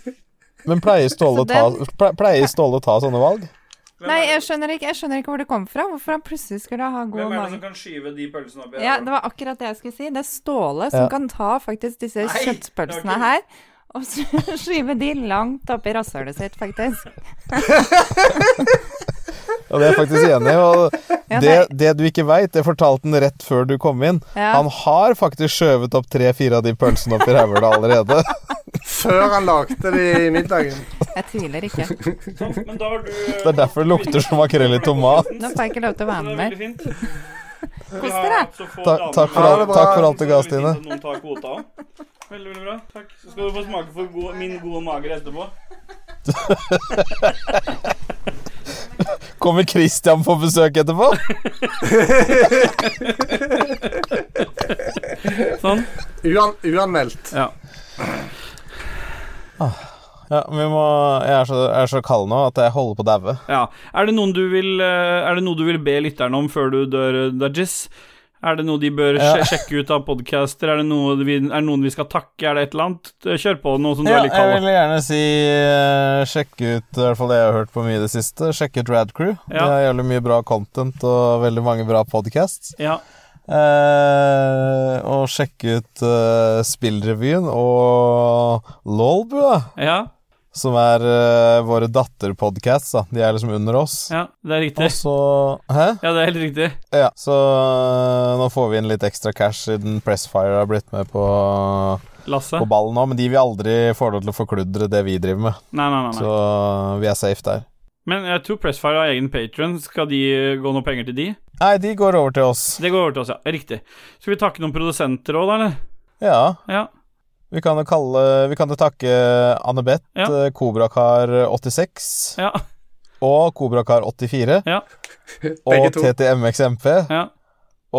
[SPEAKER 2] Men pleier Ståle, å ta,
[SPEAKER 5] Så
[SPEAKER 2] ple- pleier Ståle å ta sånne valg?
[SPEAKER 5] Nei, jeg skjønner ikke, jeg skjønner ikke hvor det kom fra. Hvorfor han plutselig skulle ha god og mage.
[SPEAKER 1] kan skyve de pølsene opp
[SPEAKER 5] Ja, det var akkurat det jeg skulle si. Det er Ståle som
[SPEAKER 2] Ja.
[SPEAKER 5] kan ta faktisk disse
[SPEAKER 1] Nei,
[SPEAKER 5] kjøttpølsene
[SPEAKER 1] det
[SPEAKER 5] her og s- [laughs] skyve de langt oppi rasshølet sitt, faktisk.
[SPEAKER 2] Ja, det er jeg faktisk enig i. Og
[SPEAKER 5] [laughs] Ja,
[SPEAKER 2] det,
[SPEAKER 5] nei.
[SPEAKER 2] det du ikke veit, det fortalte han rett før du kom inn.
[SPEAKER 5] Ja.
[SPEAKER 2] Han har faktisk skjøvet opp tre-fire av de pølsene opp i rævhølet allerede. [laughs]
[SPEAKER 3] Før han lagde det i middagen.
[SPEAKER 5] Jeg tviler ikke.
[SPEAKER 2] Det er derfor det lukter som makrell i tomat.
[SPEAKER 5] Nå får jeg ikke lov til å være med mer. Kos dere.
[SPEAKER 2] Takk, takk, for,
[SPEAKER 3] Ha
[SPEAKER 2] alt,
[SPEAKER 3] det bra.
[SPEAKER 2] takk for alt du ga, Stine.
[SPEAKER 1] Noen tar kvota også. Veldig, veldig bra. Takk. Så skal du få smake for god, min gode mager etterpå.
[SPEAKER 2] Kommer Christian på besøk etterpå?
[SPEAKER 1] Sånn.
[SPEAKER 3] Uan, uanmeldt.
[SPEAKER 1] Ja.
[SPEAKER 2] Ja, vi må, jeg, er så, jeg er så kald nå at jeg holder på å daue.
[SPEAKER 1] ja. Er det noen du vil eh, Er det noe du vil be lytterne om før du dør, eh, Dudges? Er det noe de bør sje- sjekke ut av podcaster? Er det, noe vi, er det noen vi skal takke? Er det et eller annet? Eh, Kjør på noe som du
[SPEAKER 2] Ja,
[SPEAKER 1] er litt
[SPEAKER 2] jeg
[SPEAKER 1] kald.
[SPEAKER 2] vil gjerne si eh, sjekk ut i hvert fall det jeg har hørt på mye i det siste. Sjekk ut Radcrew.
[SPEAKER 1] Ja.
[SPEAKER 2] Det er jævlig mye bra content og veldig mange bra podcasts.
[SPEAKER 1] Ja.
[SPEAKER 2] Eh, og sjekk ut eh, Spillrevyen og Lolbua,
[SPEAKER 1] ja.
[SPEAKER 2] som er eh, våre datterpodcasts. da. De er liksom under oss.
[SPEAKER 1] Ja, det er riktig.
[SPEAKER 2] Og så Hæ?
[SPEAKER 1] Ja, det er helt riktig.
[SPEAKER 2] Ja, så eh, nå får vi inn litt ekstra cash siden Pressfire har blitt med på,
[SPEAKER 1] Lasse?
[SPEAKER 2] på ballen nå, men de vil aldri få lov til å forkludre det vi driver med.
[SPEAKER 1] Nei, nei, nei. nei.
[SPEAKER 2] Så øh, vi er safe der.
[SPEAKER 1] Men jeg tror Pressfire har egen patron. Skal de eh, gå noe penger til de?
[SPEAKER 2] Nei, de går over til oss.
[SPEAKER 1] Det går over til oss, ja. Riktig. Skal vi takke noen produsenter òg, da, eller?
[SPEAKER 2] Ja.
[SPEAKER 1] Ja.
[SPEAKER 2] Vi kan jo kalle Vi kan jo takke Anne-Beth,
[SPEAKER 1] Ja.
[SPEAKER 2] eh, Kobrakar86
[SPEAKER 1] Ja.
[SPEAKER 2] og Kobrakar84
[SPEAKER 1] Ja.
[SPEAKER 2] og
[SPEAKER 3] Begge to.
[SPEAKER 2] TTMXMP
[SPEAKER 1] Ja.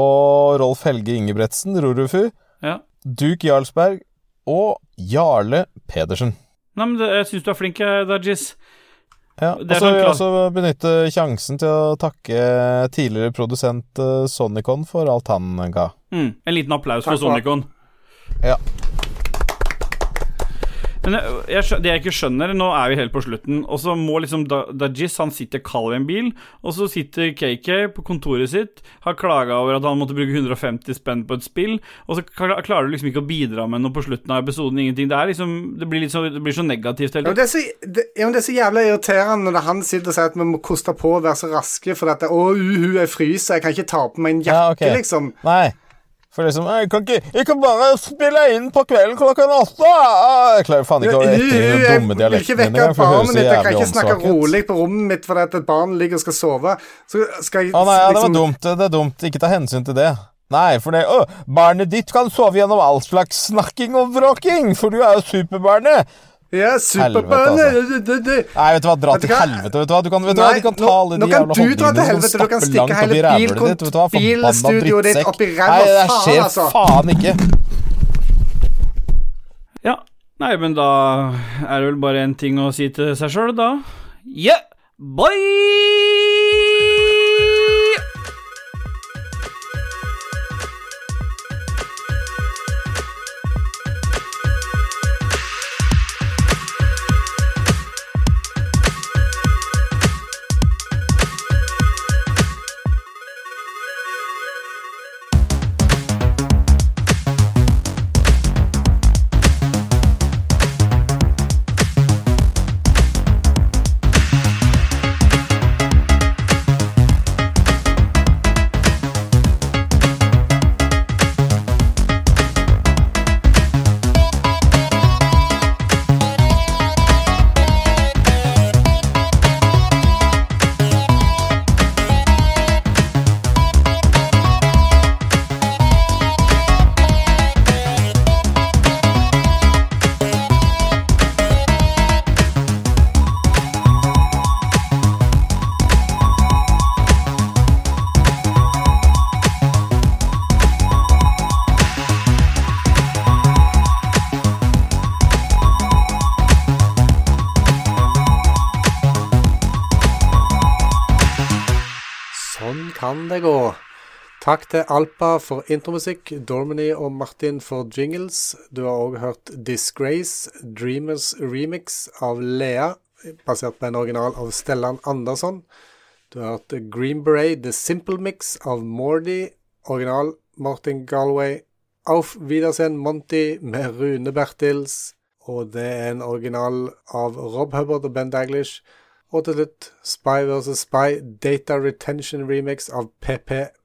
[SPEAKER 2] og Rolf Helge Ingebretsen, Rorufu,
[SPEAKER 1] ja.
[SPEAKER 2] Duke Jarlsberg og Jarle Pedersen.
[SPEAKER 1] Nei, men det, jeg syns du er flink, eh, Dajis.
[SPEAKER 2] Ja,
[SPEAKER 1] Det
[SPEAKER 2] og
[SPEAKER 1] er
[SPEAKER 2] så vil jeg
[SPEAKER 1] sånn
[SPEAKER 2] også benytte sjansen til å takke tidligere produsent eh, Sonicon for alt han ga.
[SPEAKER 1] Mm. En liten applaus for
[SPEAKER 3] Takk for
[SPEAKER 1] Sonicon.
[SPEAKER 2] Ja.
[SPEAKER 1] Men jeg, jeg, skjø- det jeg ikke skjønner, nå er vi helt på slutten, og så må liksom Da- Dajis Han sitter kald i en bil, og så sitter KK på kontoret sitt, har klaga over at han måtte bruke 150 spenn på et spill, og så kla- klarer du liksom ikke å bidra med noe på slutten av episoden, ingenting. Det er liksom Det blir, litt så, det blir så negativt
[SPEAKER 3] Ja,
[SPEAKER 1] hele
[SPEAKER 3] men det, er så, det, ja, men det er så jævla irriterende når det er han sitter og sier at vi må koste på og være så raske fordi at det, 'Å, uhu, jeg fryser, jeg kan ikke ta på meg en jakke',
[SPEAKER 2] Ja, ok.
[SPEAKER 3] liksom.
[SPEAKER 2] Nei. For liksom Jeg kan ikke Jeg kan bare spille inn på kvelden klokka åtte! Ah, Jeg klarer faen ikke å
[SPEAKER 3] Uh, Jeg
[SPEAKER 2] rette inn den dumme
[SPEAKER 3] vil ikke
[SPEAKER 2] dialekten min
[SPEAKER 3] vekke
[SPEAKER 2] engang, for det
[SPEAKER 3] barnet
[SPEAKER 2] høres så
[SPEAKER 3] mitt. Jeg kan
[SPEAKER 2] jævlig
[SPEAKER 3] ikke snakke
[SPEAKER 2] åndssvak ut.
[SPEAKER 3] rolig på rommet mitt fordi at et barn ligger og skal sove. Så skal jeg
[SPEAKER 2] Å nei, ja, det var
[SPEAKER 3] liksom
[SPEAKER 2] dumt. Det er dumt. Ikke ta hensyn til det. Nei, for det Å, barnet ditt kan sove gjennom all slags snakking og bråking, for du er jo superbarnet.
[SPEAKER 3] Ja,
[SPEAKER 2] altså.
[SPEAKER 3] superbønne!
[SPEAKER 2] Nei, vet du hva, dra
[SPEAKER 3] Vet du
[SPEAKER 2] til
[SPEAKER 3] hva?
[SPEAKER 2] helvete, vet du hva. Du kan, vet du hva?
[SPEAKER 3] Nei,
[SPEAKER 2] Du kan ta
[SPEAKER 3] nå-
[SPEAKER 2] alle de
[SPEAKER 3] nå kan
[SPEAKER 2] jævla
[SPEAKER 3] du dra til
[SPEAKER 2] hobbyideene dine
[SPEAKER 3] helvete,
[SPEAKER 2] som
[SPEAKER 3] du kan
[SPEAKER 2] stappe
[SPEAKER 3] stikke
[SPEAKER 2] langt opp i
[SPEAKER 3] hele
[SPEAKER 2] rævhølet ditt. Vet du hva,
[SPEAKER 3] bilkont-
[SPEAKER 2] forbanna
[SPEAKER 3] bilstudioet ditt
[SPEAKER 2] drittsekk.
[SPEAKER 3] opp i ræva,
[SPEAKER 2] Nei, det
[SPEAKER 3] faen,
[SPEAKER 2] skjer
[SPEAKER 3] altså.
[SPEAKER 2] faen ikke.
[SPEAKER 1] Ja. Nei, men da er det vel bare én ting å si til seg sjøl, da. Yeah! Bye!
[SPEAKER 3] Sånn kan det gå. Takk til Alpa for intromusikk, Dormany og Martin for jingles. Du har òg hørt Disgrace, Dreamers remix av Lea, basert på en original av Stellan Andersson. Du har hørt Green Beret, The Simple Mix av Mordy, original Martin Galway. Auf Wiedersehen Monty med Rune Bertils. Og det er en original av Rob Hubbard og Ben Daglish. Og til slutt Spy vs. Spy Data Retention Remix av PP